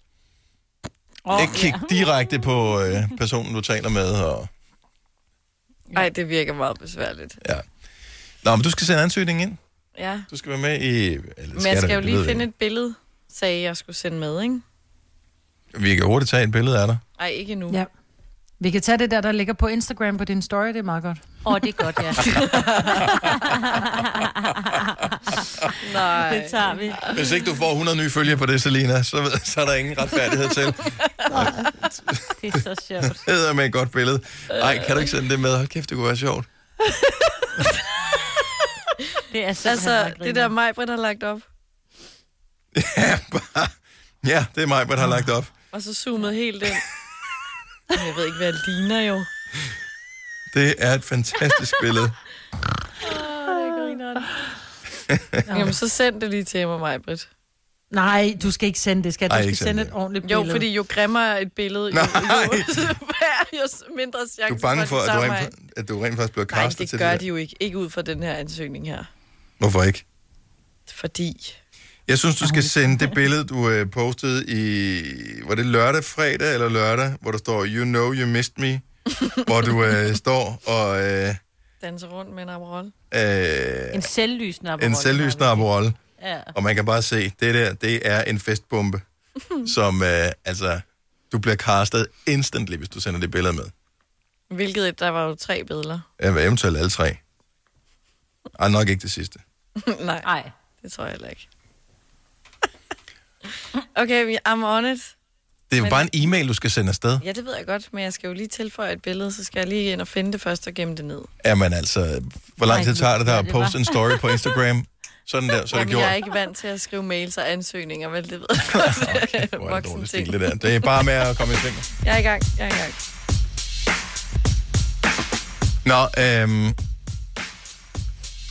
Oh, ikke kigge direkte på øh, personen, du taler med. Og...
Ej, det virker meget besværligt.
Nå, men du skal sende ansøgningen ind.
Ja.
Du skal være med i... Eller,
Men jeg
du?
skal jo
Det
lige
ved jeg
finde et billede, sagde jeg, jeg skulle sende med, ikke?
ikke. Vi kan hurtigt tage et billede af dig.
Ej, ikke endnu.
Ja. Vi kan tage det der, der ligger på Instagram på din story, det er meget godt.
Åh, oh, det er godt, ja.
Nej.
Det tager vi.
Hvis ikke du får 100 nye følgere på det, Selina, så, ved- så er der ingen retfærdighed til.
Det er så sjovt.
Det er med et godt billede. Nej, kan du ikke sende det med? Hold kæft, det kunne være sjovt.
Det er simpelthen
altså,
bare
det
grineren.
der mig, Britt har lagt op,
Ja, det er mig, der har lagt op.
og så zoomet helt ind. Men Jeg ved ikke, hvad det ligner jo.
Det er et fantastisk billede.
Jamen, så send det lige til mig, mig, Britt.
Nej, du skal ikke sende det, skal du?
Ej,
du
ikke
skal sende
sende
et ordentligt
Jo,
billede.
fordi jo grimmere et billede, jo, jo, jo mindre chance
Du er bange for,
de
at du
tager
rent,
mig.
at du rent faktisk bliver
Nej,
kastet
det
til
gør
det.
de
der.
jo ikke. Ikke ud fra den her ansøgning her.
Hvorfor ikke?
Fordi...
Jeg synes, du skal sende det billede, du øh, postede i... Var det lørdag, fredag eller lørdag? Hvor der står, you know you missed me. hvor du øh, står og... Øh,
Danse rundt med en Aperol.
øh,
En selvlysende
en
Aperol.
selvlysende Aperol.
Ja.
Og man kan bare se, det der, det er en festbombe, som, øh, altså, du bliver castet instantly, hvis du sender det billede med.
Hvilket et, der var jo tre billeder.
Ja, eventuelt alle tre. Ej, nok ikke det sidste.
Nej. Nej. Det tror jeg heller ikke. okay, vi- I'm on it.
Det er jo
Men-
bare en e-mail, du skal sende afsted.
Ja, det ved jeg godt, men jeg skal jo lige tilføje et billede, så skal jeg lige ind og finde det først og gemme det ned.
Jamen altså, hvor lang tid tager det der at poste en story på Instagram? Sådan der, så er det
Jamen,
gjort.
jeg er ikke vant til at skrive mails og ansøgninger, vel, det ved jeg godt. Det er
Hvor er det
voksen
dårligt
ting.
stil, det der. Det er bare med at komme i ting.
Jeg er i gang, jeg er i gang.
Nå, øhm,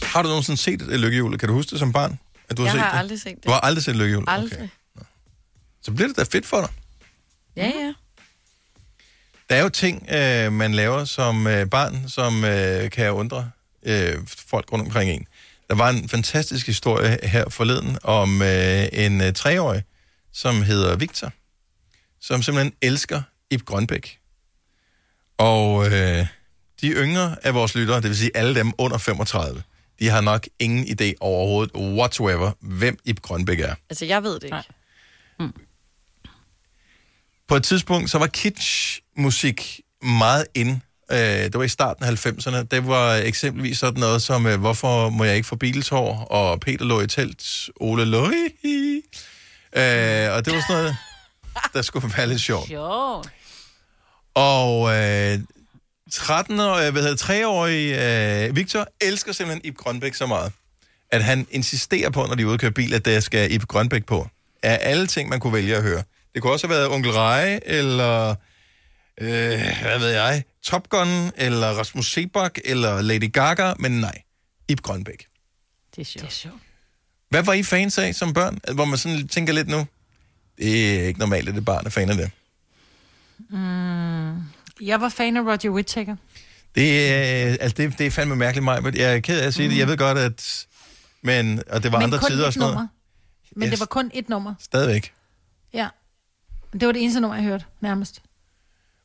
har du nogensinde set et lykkehjul? Kan du huske det som barn? At du
jeg
har set
har
det?
aldrig set det.
Du har aldrig set et lykkehjul?
Aldrig.
Okay. Så bliver det da fedt for dig.
Ja, ja.
Der er jo ting, øh, man laver som øh, barn, som øh, kan undre øh, folk rundt omkring en. Der var en fantastisk historie her forleden om øh, en øh, treårig, som hedder Victor, som simpelthen elsker Ip Grønbæk. Og øh, de yngre af vores lyttere, det vil sige alle dem under 35, de har nok ingen idé overhovedet whatsoever, hvem Ip Grønbæk er.
Altså, jeg ved det ikke.
på et tidspunkt, så var kitsch-musik meget ind. Øh, det var i starten af 90'erne. Det var eksempelvis sådan noget som, øh, hvorfor må jeg ikke få Beatles-hår? Og Peter lå i telt, Ole lå i. i. Øh, og det var sådan noget, der skulle være lidt sjovt.
Sjovt.
Og øh, 13 år, hvad hedder det, 3-årige øh, Victor elsker simpelthen Ib Grønbæk så meget, at han insisterer på, når de er ude og køre bil, at der skal Ib Grønbæk på. Af alle ting, man kunne vælge at høre. Det kunne også have været Onkel Reje, eller øh, hvad ved jeg, Top Gun, eller Rasmus Sebak, eller Lady Gaga, men nej, Ib Grønbæk.
Det er sjovt. Det er sjovt.
Hvad var I fans af som børn? Hvor man sådan tænker lidt nu, det er ikke normalt, at det barn er fan af det.
Mm. Jeg var fan af Roger Whittaker.
Det, er- altså, det, det er fandme mærkeligt mig, men jeg er ked af at sige mm. det. Jeg ved godt, at... Men, og det var
Men
andre
kun
tider
et
og sådan
nummer.
noget.
Men
Yes.
det var kun et nummer.
Stadigvæk.
Ja. Det var det eneste nummer, jeg hørte, nærmest.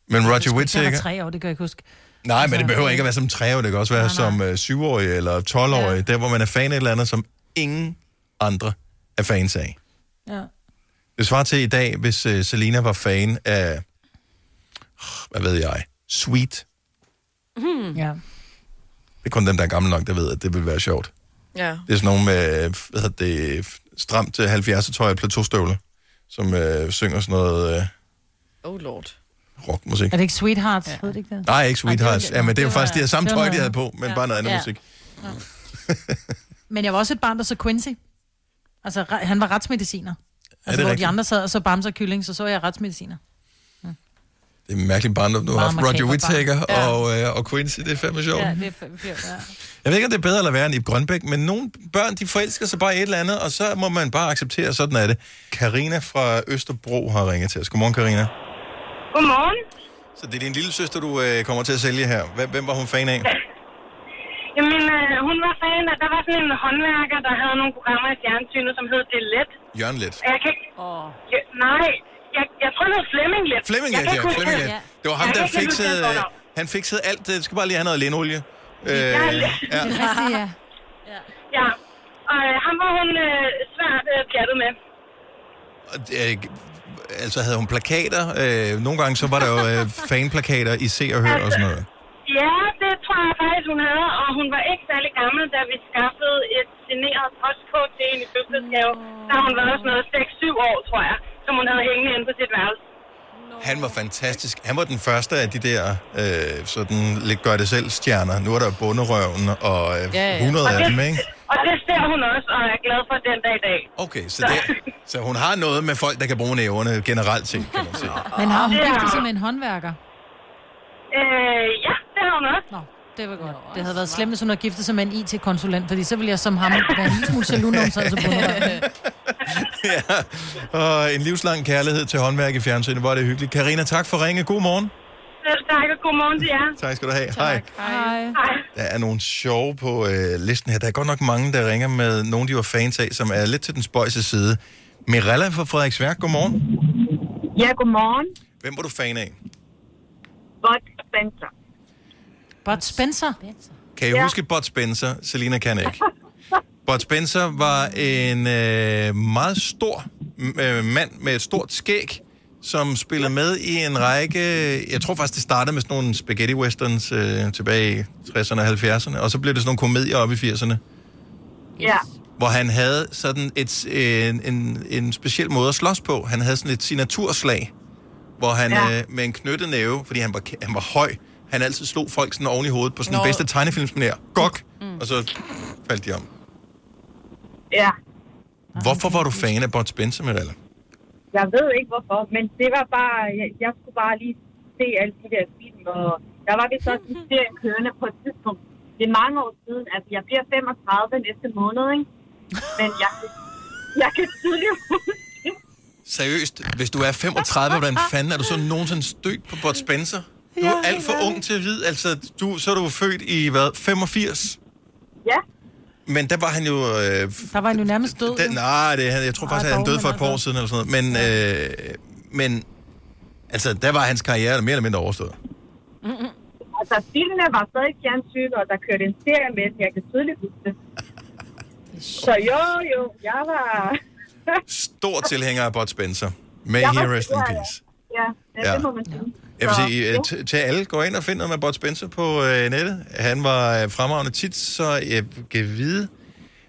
Men Roger
Jeg var
Whittaker...
tre år, det kan jeg ikke huske.
Nej, men det behøver ikke at være som 3 år. Det kan også være som øh, 7-årig eller 12-årig. Ja. Der, hvor man er fan af et eller andet, som ingen andre er fans af.
Ja.
Det svarer til i dag, hvis øh, Selina var fan af... Hvad ved jeg? Sweet.
Mm. Ja.
Det er kun dem, der er gamle nok, der ved, at det vil være sjovt.
Ja.
Det er sådan nogle med, øh, hvad hedder det, stramt til 70'er tøj og plateaustøvle, som øh, synger sådan noget øh,
Oh lord.
rockmusik.
Er det ikke Sweethearts? Ja. Hed det ikke det?
Nej, ikke Sweethearts. Ja, men det er jo faktisk det her samme
det var
tøj, de
noget-
havde på, men bare noget andet
Ja.
musik.
Men jeg var også et barn, der så Quincy. Altså, re- han var retsmediciner. Altså,
det
hvor
rigtigt?
de andre sad og så Bamse og Kylling, så så jeg retsmediciner.
Det er en mærkelig barndom, du har
Meget
haft. Roger
makaber
Whittaker
barn. Ja.
og, øh, og Quincy, det er fandme sjovt.
Ja, det er fem ja.
Jeg ved ikke, om det er bedre eller værre end i Grønbæk, men nogle børn, de forelsker sig bare i et eller andet, og så må man bare acceptere, at sådan er det. Karina fra Østerbro har ringet til os. Godmorgen, Karina.
Godmorgen.
Så det er din lille søster, du øh, kommer til at sælge her. Hvem, hvem var hun fan af?
Jamen, øh, hun var fan af, der var sådan en håndværker, der havde nogle programmer i fjernsynet, som hed Det er Let.
Jørgen Let.
Og Jeg kan ikke... Oh. Ja, nej, jeg, jeg tror, det hed Flemming Let.
Flemming
Jeg
Let,
kan
ja.
ikke huske
Flemming Let. Det var ham,
Jeg
der
kan ikke huske
fiksede,
hans
øh,
fornavn.
han fiksede alt. Det skal bare lige have noget linolie. Øh, ja.
Det er rigtigt,
ja.
Ja, og øh, ham var hun øh, svært øh, pjattet med.
Og, øh, altså havde hun plakater. Øh, nogle gange så var der jo øh, fanplakater i Se og Hør og sådan noget.
Ja, det tror jeg faktisk, hun havde, og hun var ikke særlig gammel, da vi skaffede et generet postkort til hende i fødselsdagsgave. Da hun var også noget 6-7 år, tror jeg, som hun havde hængende inde på sit værelse.
Han var fantastisk. Han var den første af de der øh, sådan lidt gør-det-selv-stjerner. Nu er der Bunderøven og øh, ja, ja. 100
og
af
det,
dem, ikke?
Og det ser hun også, og er glad for den dag i dag.
Okay, så, det, så hun har noget med folk, der kan bruge næverne generelt set, kan man sige.
Men har hun
Det er-
giftet sig med en håndværker?
Øh, ja, det har hun også.
Nå, det var godt. Det havde været slemt, hvis hun havde giftet sig med en IT-konsulent, fordi så ville jeg som ham være en lille smule jaloux, når hun sad til bundet.
Og en livslang kærlighed til håndværk i fjernsynet. Hvor er det hyggeligt. Karina, tak for ringe. God morgen.
Selv tak, og godmorgen til jer.
Tak skal du have. Hej.
Hej. Hej.
Der er nogle sjove på øh, listen her. Der er godt nok mange, der ringer med nogen, de var fans af, som er lidt til den spøjse side. Mirella fra Frederiksværk, godmorgen.
Ja, godmorgen.
Hvem var du fan af?
Bud Spencer.
Bud Spencer?
Kan I ja. huske Bud Spencer? Selina kan ikke. Bud Spencer var en øh, meget stor m- øh, mand med et stort skæg, som spillede med i en række... Jeg tror faktisk, det startede med sådan nogle spaghetti westerns øh, tilbage i 60'erne og 70'erne, og så blev det sådan nogle komedier op i 80'erne,
Ja.
hvor han havde sådan et, øh, en, en, en speciel måde at slås på. Han havde sådan et signaturslag, hvor han
Ja.
ja. øh, med en knyttet næve, fordi han var, kæ- han var høj, han altid slog folk sådan oven i hovedet på sådan
Nå.
den bedste tegnefilmsmanér. Gok! Mm. Og så faldt de om.
Ja.
Hvorfor var du fan af Bud Spencer, Mirella?
Jeg ved ikke hvorfor, men det var bare, jeg, jeg skulle bare lige se alle de der film, og der var vist også en serie kørende på et tidspunkt. Det er mange år siden, altså jeg bliver 35 næste måned, ikke? Men jeg, jeg kan tydeligt huske,
Seriøst, hvis du er 35, hvordan fanden er du så nogensinde stødt på Bud Spencer? Du er
Ja,
alt for
ja.
ung til at vide. Altså, du, så er du født i, hvad, 85?
ja,
Men der var han jo... Øh,
Der var han jo nærmest død.
den, nej, det, han- jeg tror faktisk, at han
dog,
døde
men
for et par år siden eller sådan noget. Men, øh, men altså, der var hans karriere mere eller mindre overstået.
altså filmene var stadig fjernsynet, og der kørte en serie med, den. jeg kan tydeligt huske det. Så jo, jo, jeg var...
Stor tilhænger af Bud Spencer. May
Jeg
he
var-
rest in peace.
Ja, ja,
Ja.
det må man sige.
Jeg vil
Så,
sige, øh, t- til alle, gå ind og find noget med Bud Spencer på øh, nettet. Han var øh, fremragende tit, så jeg kan vide.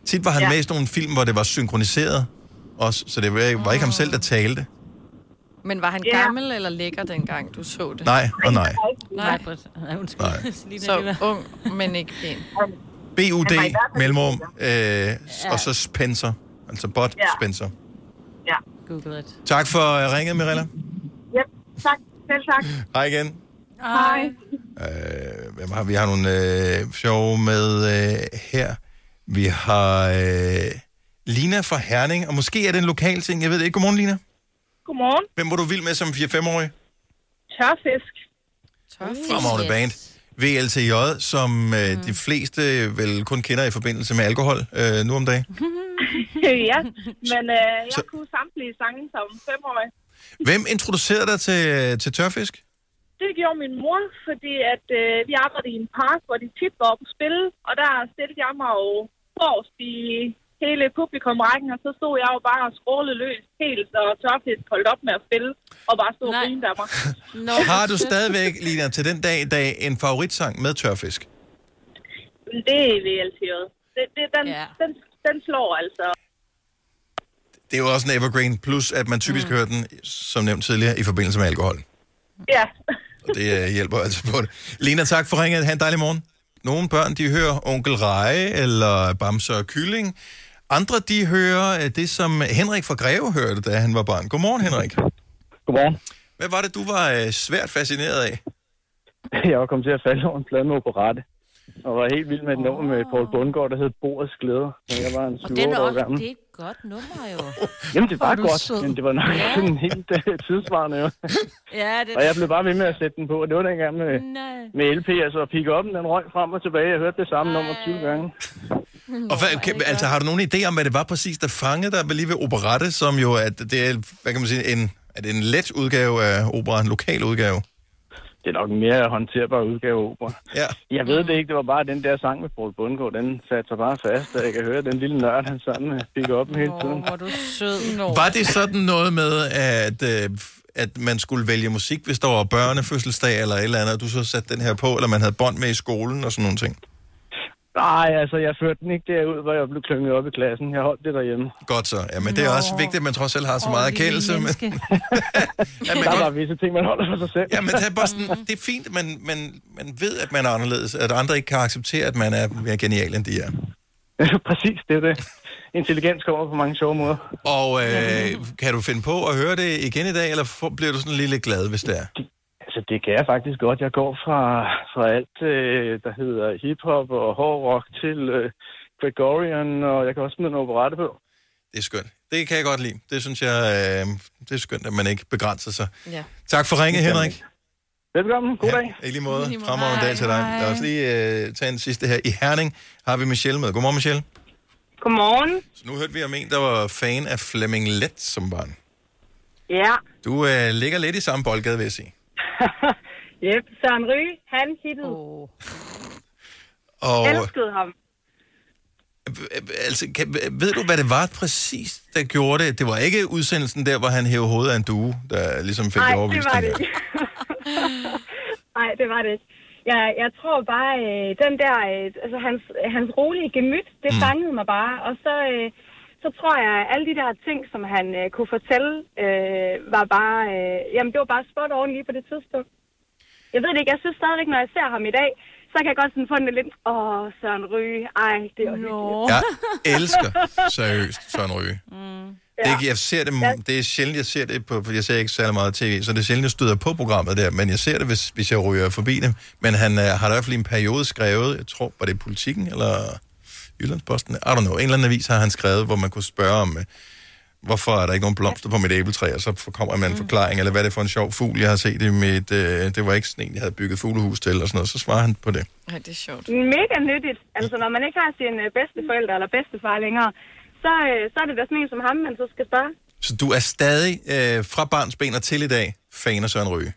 Tit var han
Ja.
ja. med i sådan nogle film, hvor det var synkroniseret også, så det var, var ikke ham selv, der talte.
Men var han gammel eller lækker dengang, du så det?
Nej og nej.
Nej.
Nej, undskyld.
Nej. Så ung, men ikke pæn.
BUD,
Han var i hvert fald
mellemrum, øh, og så Spencer. Altså Bud
Ja.
Spencer.
ja.
Google it.
Tak for øh, ringet, Mirella.
Yep, tak. Selv tak.
Hej igen.
Hej.
Øh, hvem har vi? vi har nogle øh, sjove med øh, her. Vi har øh, Lina fra Herning, og måske er det en lokal ting, jeg ved det ikke. Godmorgen, Lina.
Godmorgen.
Hvem var du vild med som 4-5-årig?
Tørfisk.
Fremragende band. VLTJ, som øh, mm. de fleste vel kun kender i forbindelse med alkohol øh, nu om dagen.
ja, men øh, jeg
Så-
kunne samtlige sange som femårig.
Hvem introducerede dig til, øh, til tørfisk?
Det gjorde min mor, fordi at, øh, vi arbejdede i en park, hvor de tit var oppe at spille, og der stillede jeg mig jo forrest i hele publikumrækken, og så stod jeg jo bare og skrålede løs helt, og tørfisk holdt op med at spille, og bare stod og grinede af mig.
No. Har du stadigvæk, Lina, til den dag i dag en favoritsang med tørfisk?
Men Det er VLT'et. Det, det, den, ja. den, den slår altså.
Det er jo også en evergreen, plus at man typisk mm. hører den, som nævnt tidligere, i forbindelse med alkohol.
Ja.
Og det øh, hjælper altså på det. Lena, tak for ringet. Ha' en dejlig morgen. Nogle børn, de hører Onkel Reje eller Bamse og Kylling. Andre, de hører øh, det, som Henrik fra Greve hørte, da han var barn. Godmorgen, Henrik.
Godmorgen.
Hvad var det, du var øh, svært fascineret af?
Jeg var kommet til at falde over en plade med operette. Og var helt vild med et nummer med Paul Bundgaard, der hed Borets Glæder. Men jeg var en
Og den
7
er
år
også,
gammel.
det er et godt nummer jo.
Jamen, det var
Hvor er du
godt,
sød.
men det var nok
Ja.
ja. sådan helt uh, tidsvarende. Jo.
Ja, det
Og jeg blev bare ved med at sætte den på, og det var dengang med,
Nej.
med LP, altså og pick upen den røg frem og tilbage. Jeg hørte det samme nummer 20 gange.
Og hvad, kan, altså, har du nogen idé om, hvad det var præcis, der fangede dig lige ved operette, som jo er, det er, hvad kan man sige, en, er det en let udgave af opera, en lokal udgave?
Det er nok en mere håndterbar udgave af opera.
Ja.
Jeg ved det ikke, det var bare den der sang med Paul Bundgaard, den satte sig bare fast, og jeg kan høre den lille nørd, han sang med pick upen hele tiden.
Hvor er du sød. Nå.
Var det sådan noget med, at, øh, at man skulle vælge musik, hvis der var børnefødselsdag eller et eller andet, og du så satte den her på, eller man havde bånd med i skolen og sådan nogle ting?
Nej, altså, jeg førte den ikke derud, hvor jeg blev klynget op i klassen. Jeg holdt det derhjemme.
Godt så. Ja, men det er også vigtigt, at man trods alt har så meget erkendelse. Men,
Ja, men der er visse ting, man holder for sig selv.
ja, men det, er bare sådan, det er fint, at man, man, man ved, at man er anderledes, at andre ikke kan acceptere, at man er mere genial, end de er.
Præcis, det er det. Intelligens kommer på mange sjove måder.
Og øh, kan du finde på at høre det igen i dag, eller får- bliver du sådan lige lidt glad, hvis det er?
Altså, det kan jeg faktisk godt. Jeg går fra, fra alt, øh, der hedder hiphop og hård rock til øh, Gregorian, og jeg kan også smide en operette på.
Det er skønt. Det kan jeg godt lide. Det synes jeg, øh, det er skønt, at man ikke begrænser sig.
Ja.
Tak for ringet, Henrik.
Velkommen. God dag.
Ja, i lige måde. Fremover dag til dig. Lad os lige øh, tage en sidste her. I Herning har vi Michelle med. Godmorgen, Michelle.
Godmorgen.
Så nu hørte vi om en, der var fan af Flemming Let som barn.
Ja,
Du øh, ligger lidt i samme boldgade, vil jeg sige.
yep. Søren Ryge, han hittede. Oh.
Og
Elskede ham.
øh, altså, kan, ved du, hvad det var præcis, der gjorde det? Det var ikke udsendelsen der, hvor han hævde hovedet af en due, der ligesom fik
Nej, det
overbevist
var
det
det
her.
ikke. Nej, det var det ikke. Jeg, jeg tror bare, øh, den der, øh, altså hans, hans rolige gemyt, det
Mm.
fangede mig bare. Og så, øh, så tror jeg, at alle de der ting, som han øh, kunne fortælle, øh, var bare, øh, jamen det var bare spot on lige på det tidspunkt. Jeg ved det ikke, jeg synes stadigvæk, når jeg ser ham i dag, så kan jeg godt sådan få den lidt, åh, Søren Ryge, ej, det er jo
Jeg elsker seriøst Søren Ryge. Mm. Det, er- jeg ser det, det er sjældent, jeg ser det på, for jeg ser ikke særlig meget tv, så det er sjældent, jeg støder på programmet der, men jeg ser det, hvis, hvis jeg ryger forbi det. Men han øh, har da i hvert fald i en periode skrevet, jeg tror, var det Politiken eller Jyllandsposten? I don't know. En eller anden avis har han skrevet, hvor man kunne spørge om, øh, hvorfor er der ikke nogen blomster på mit æbletræ, og så kommer man en forklaring, eller hvad er det for en sjov fugl, jeg har set i mit, øh, det var ikke sådan en, jeg havde bygget fuglehus til, eller sådan noget, så svarer han på det.
Ej, det er sjovt. Mega nyttigt. Altså, når man ikke har sine øh, bedsteforældre eller bedstefar længere, så, øh, så er det da sådan en som ham, man så skal spørge.
Så du er stadig øh, fra barns ben og til i dag fan af Søren Ryge.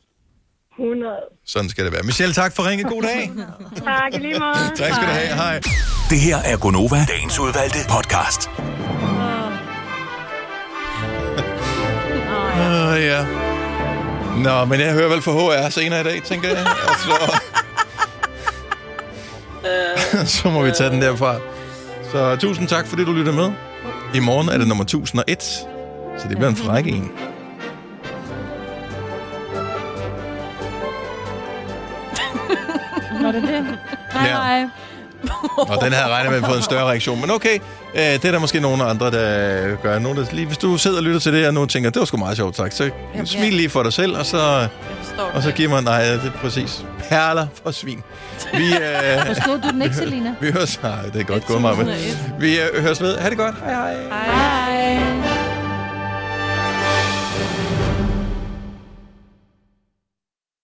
100.
Sådan skal det være. Michelle, tak for ringet. God dag.
Tak, i lige måde.
tak skal du have. Hej.
Det her er Gonova, dagens udvalgte podcast.
Uh, ja. Nå, men jeg hører vel for HR senere i dag, tænker jeg. Altså, Og så... så må vi tage den derfra. Så tusind tak, fordi du lytter med. I morgen er det nummer 1001, så det bliver en frække en.
Var det det? Nej,
Ja.
nej.
Og den her regner med at få en større reaktion. Men okay, øh, det er der måske nogle andre, der gør. Nogen, der lige, hvis du sidder og lytter til det her, og nogen tænker, det var sgu meget sjovt, tak. Så smil lige for dig selv, og så, og så giv mig... Nej, ja, det er præcis. Perler for svin. Vi, øh,
Forstod du den ikke, Selina?
Vi høres... Nej, det er godt gået, Marvind.
1001.
Vi øh, høres ved. Ha' det godt. Hej, hej.
Hej.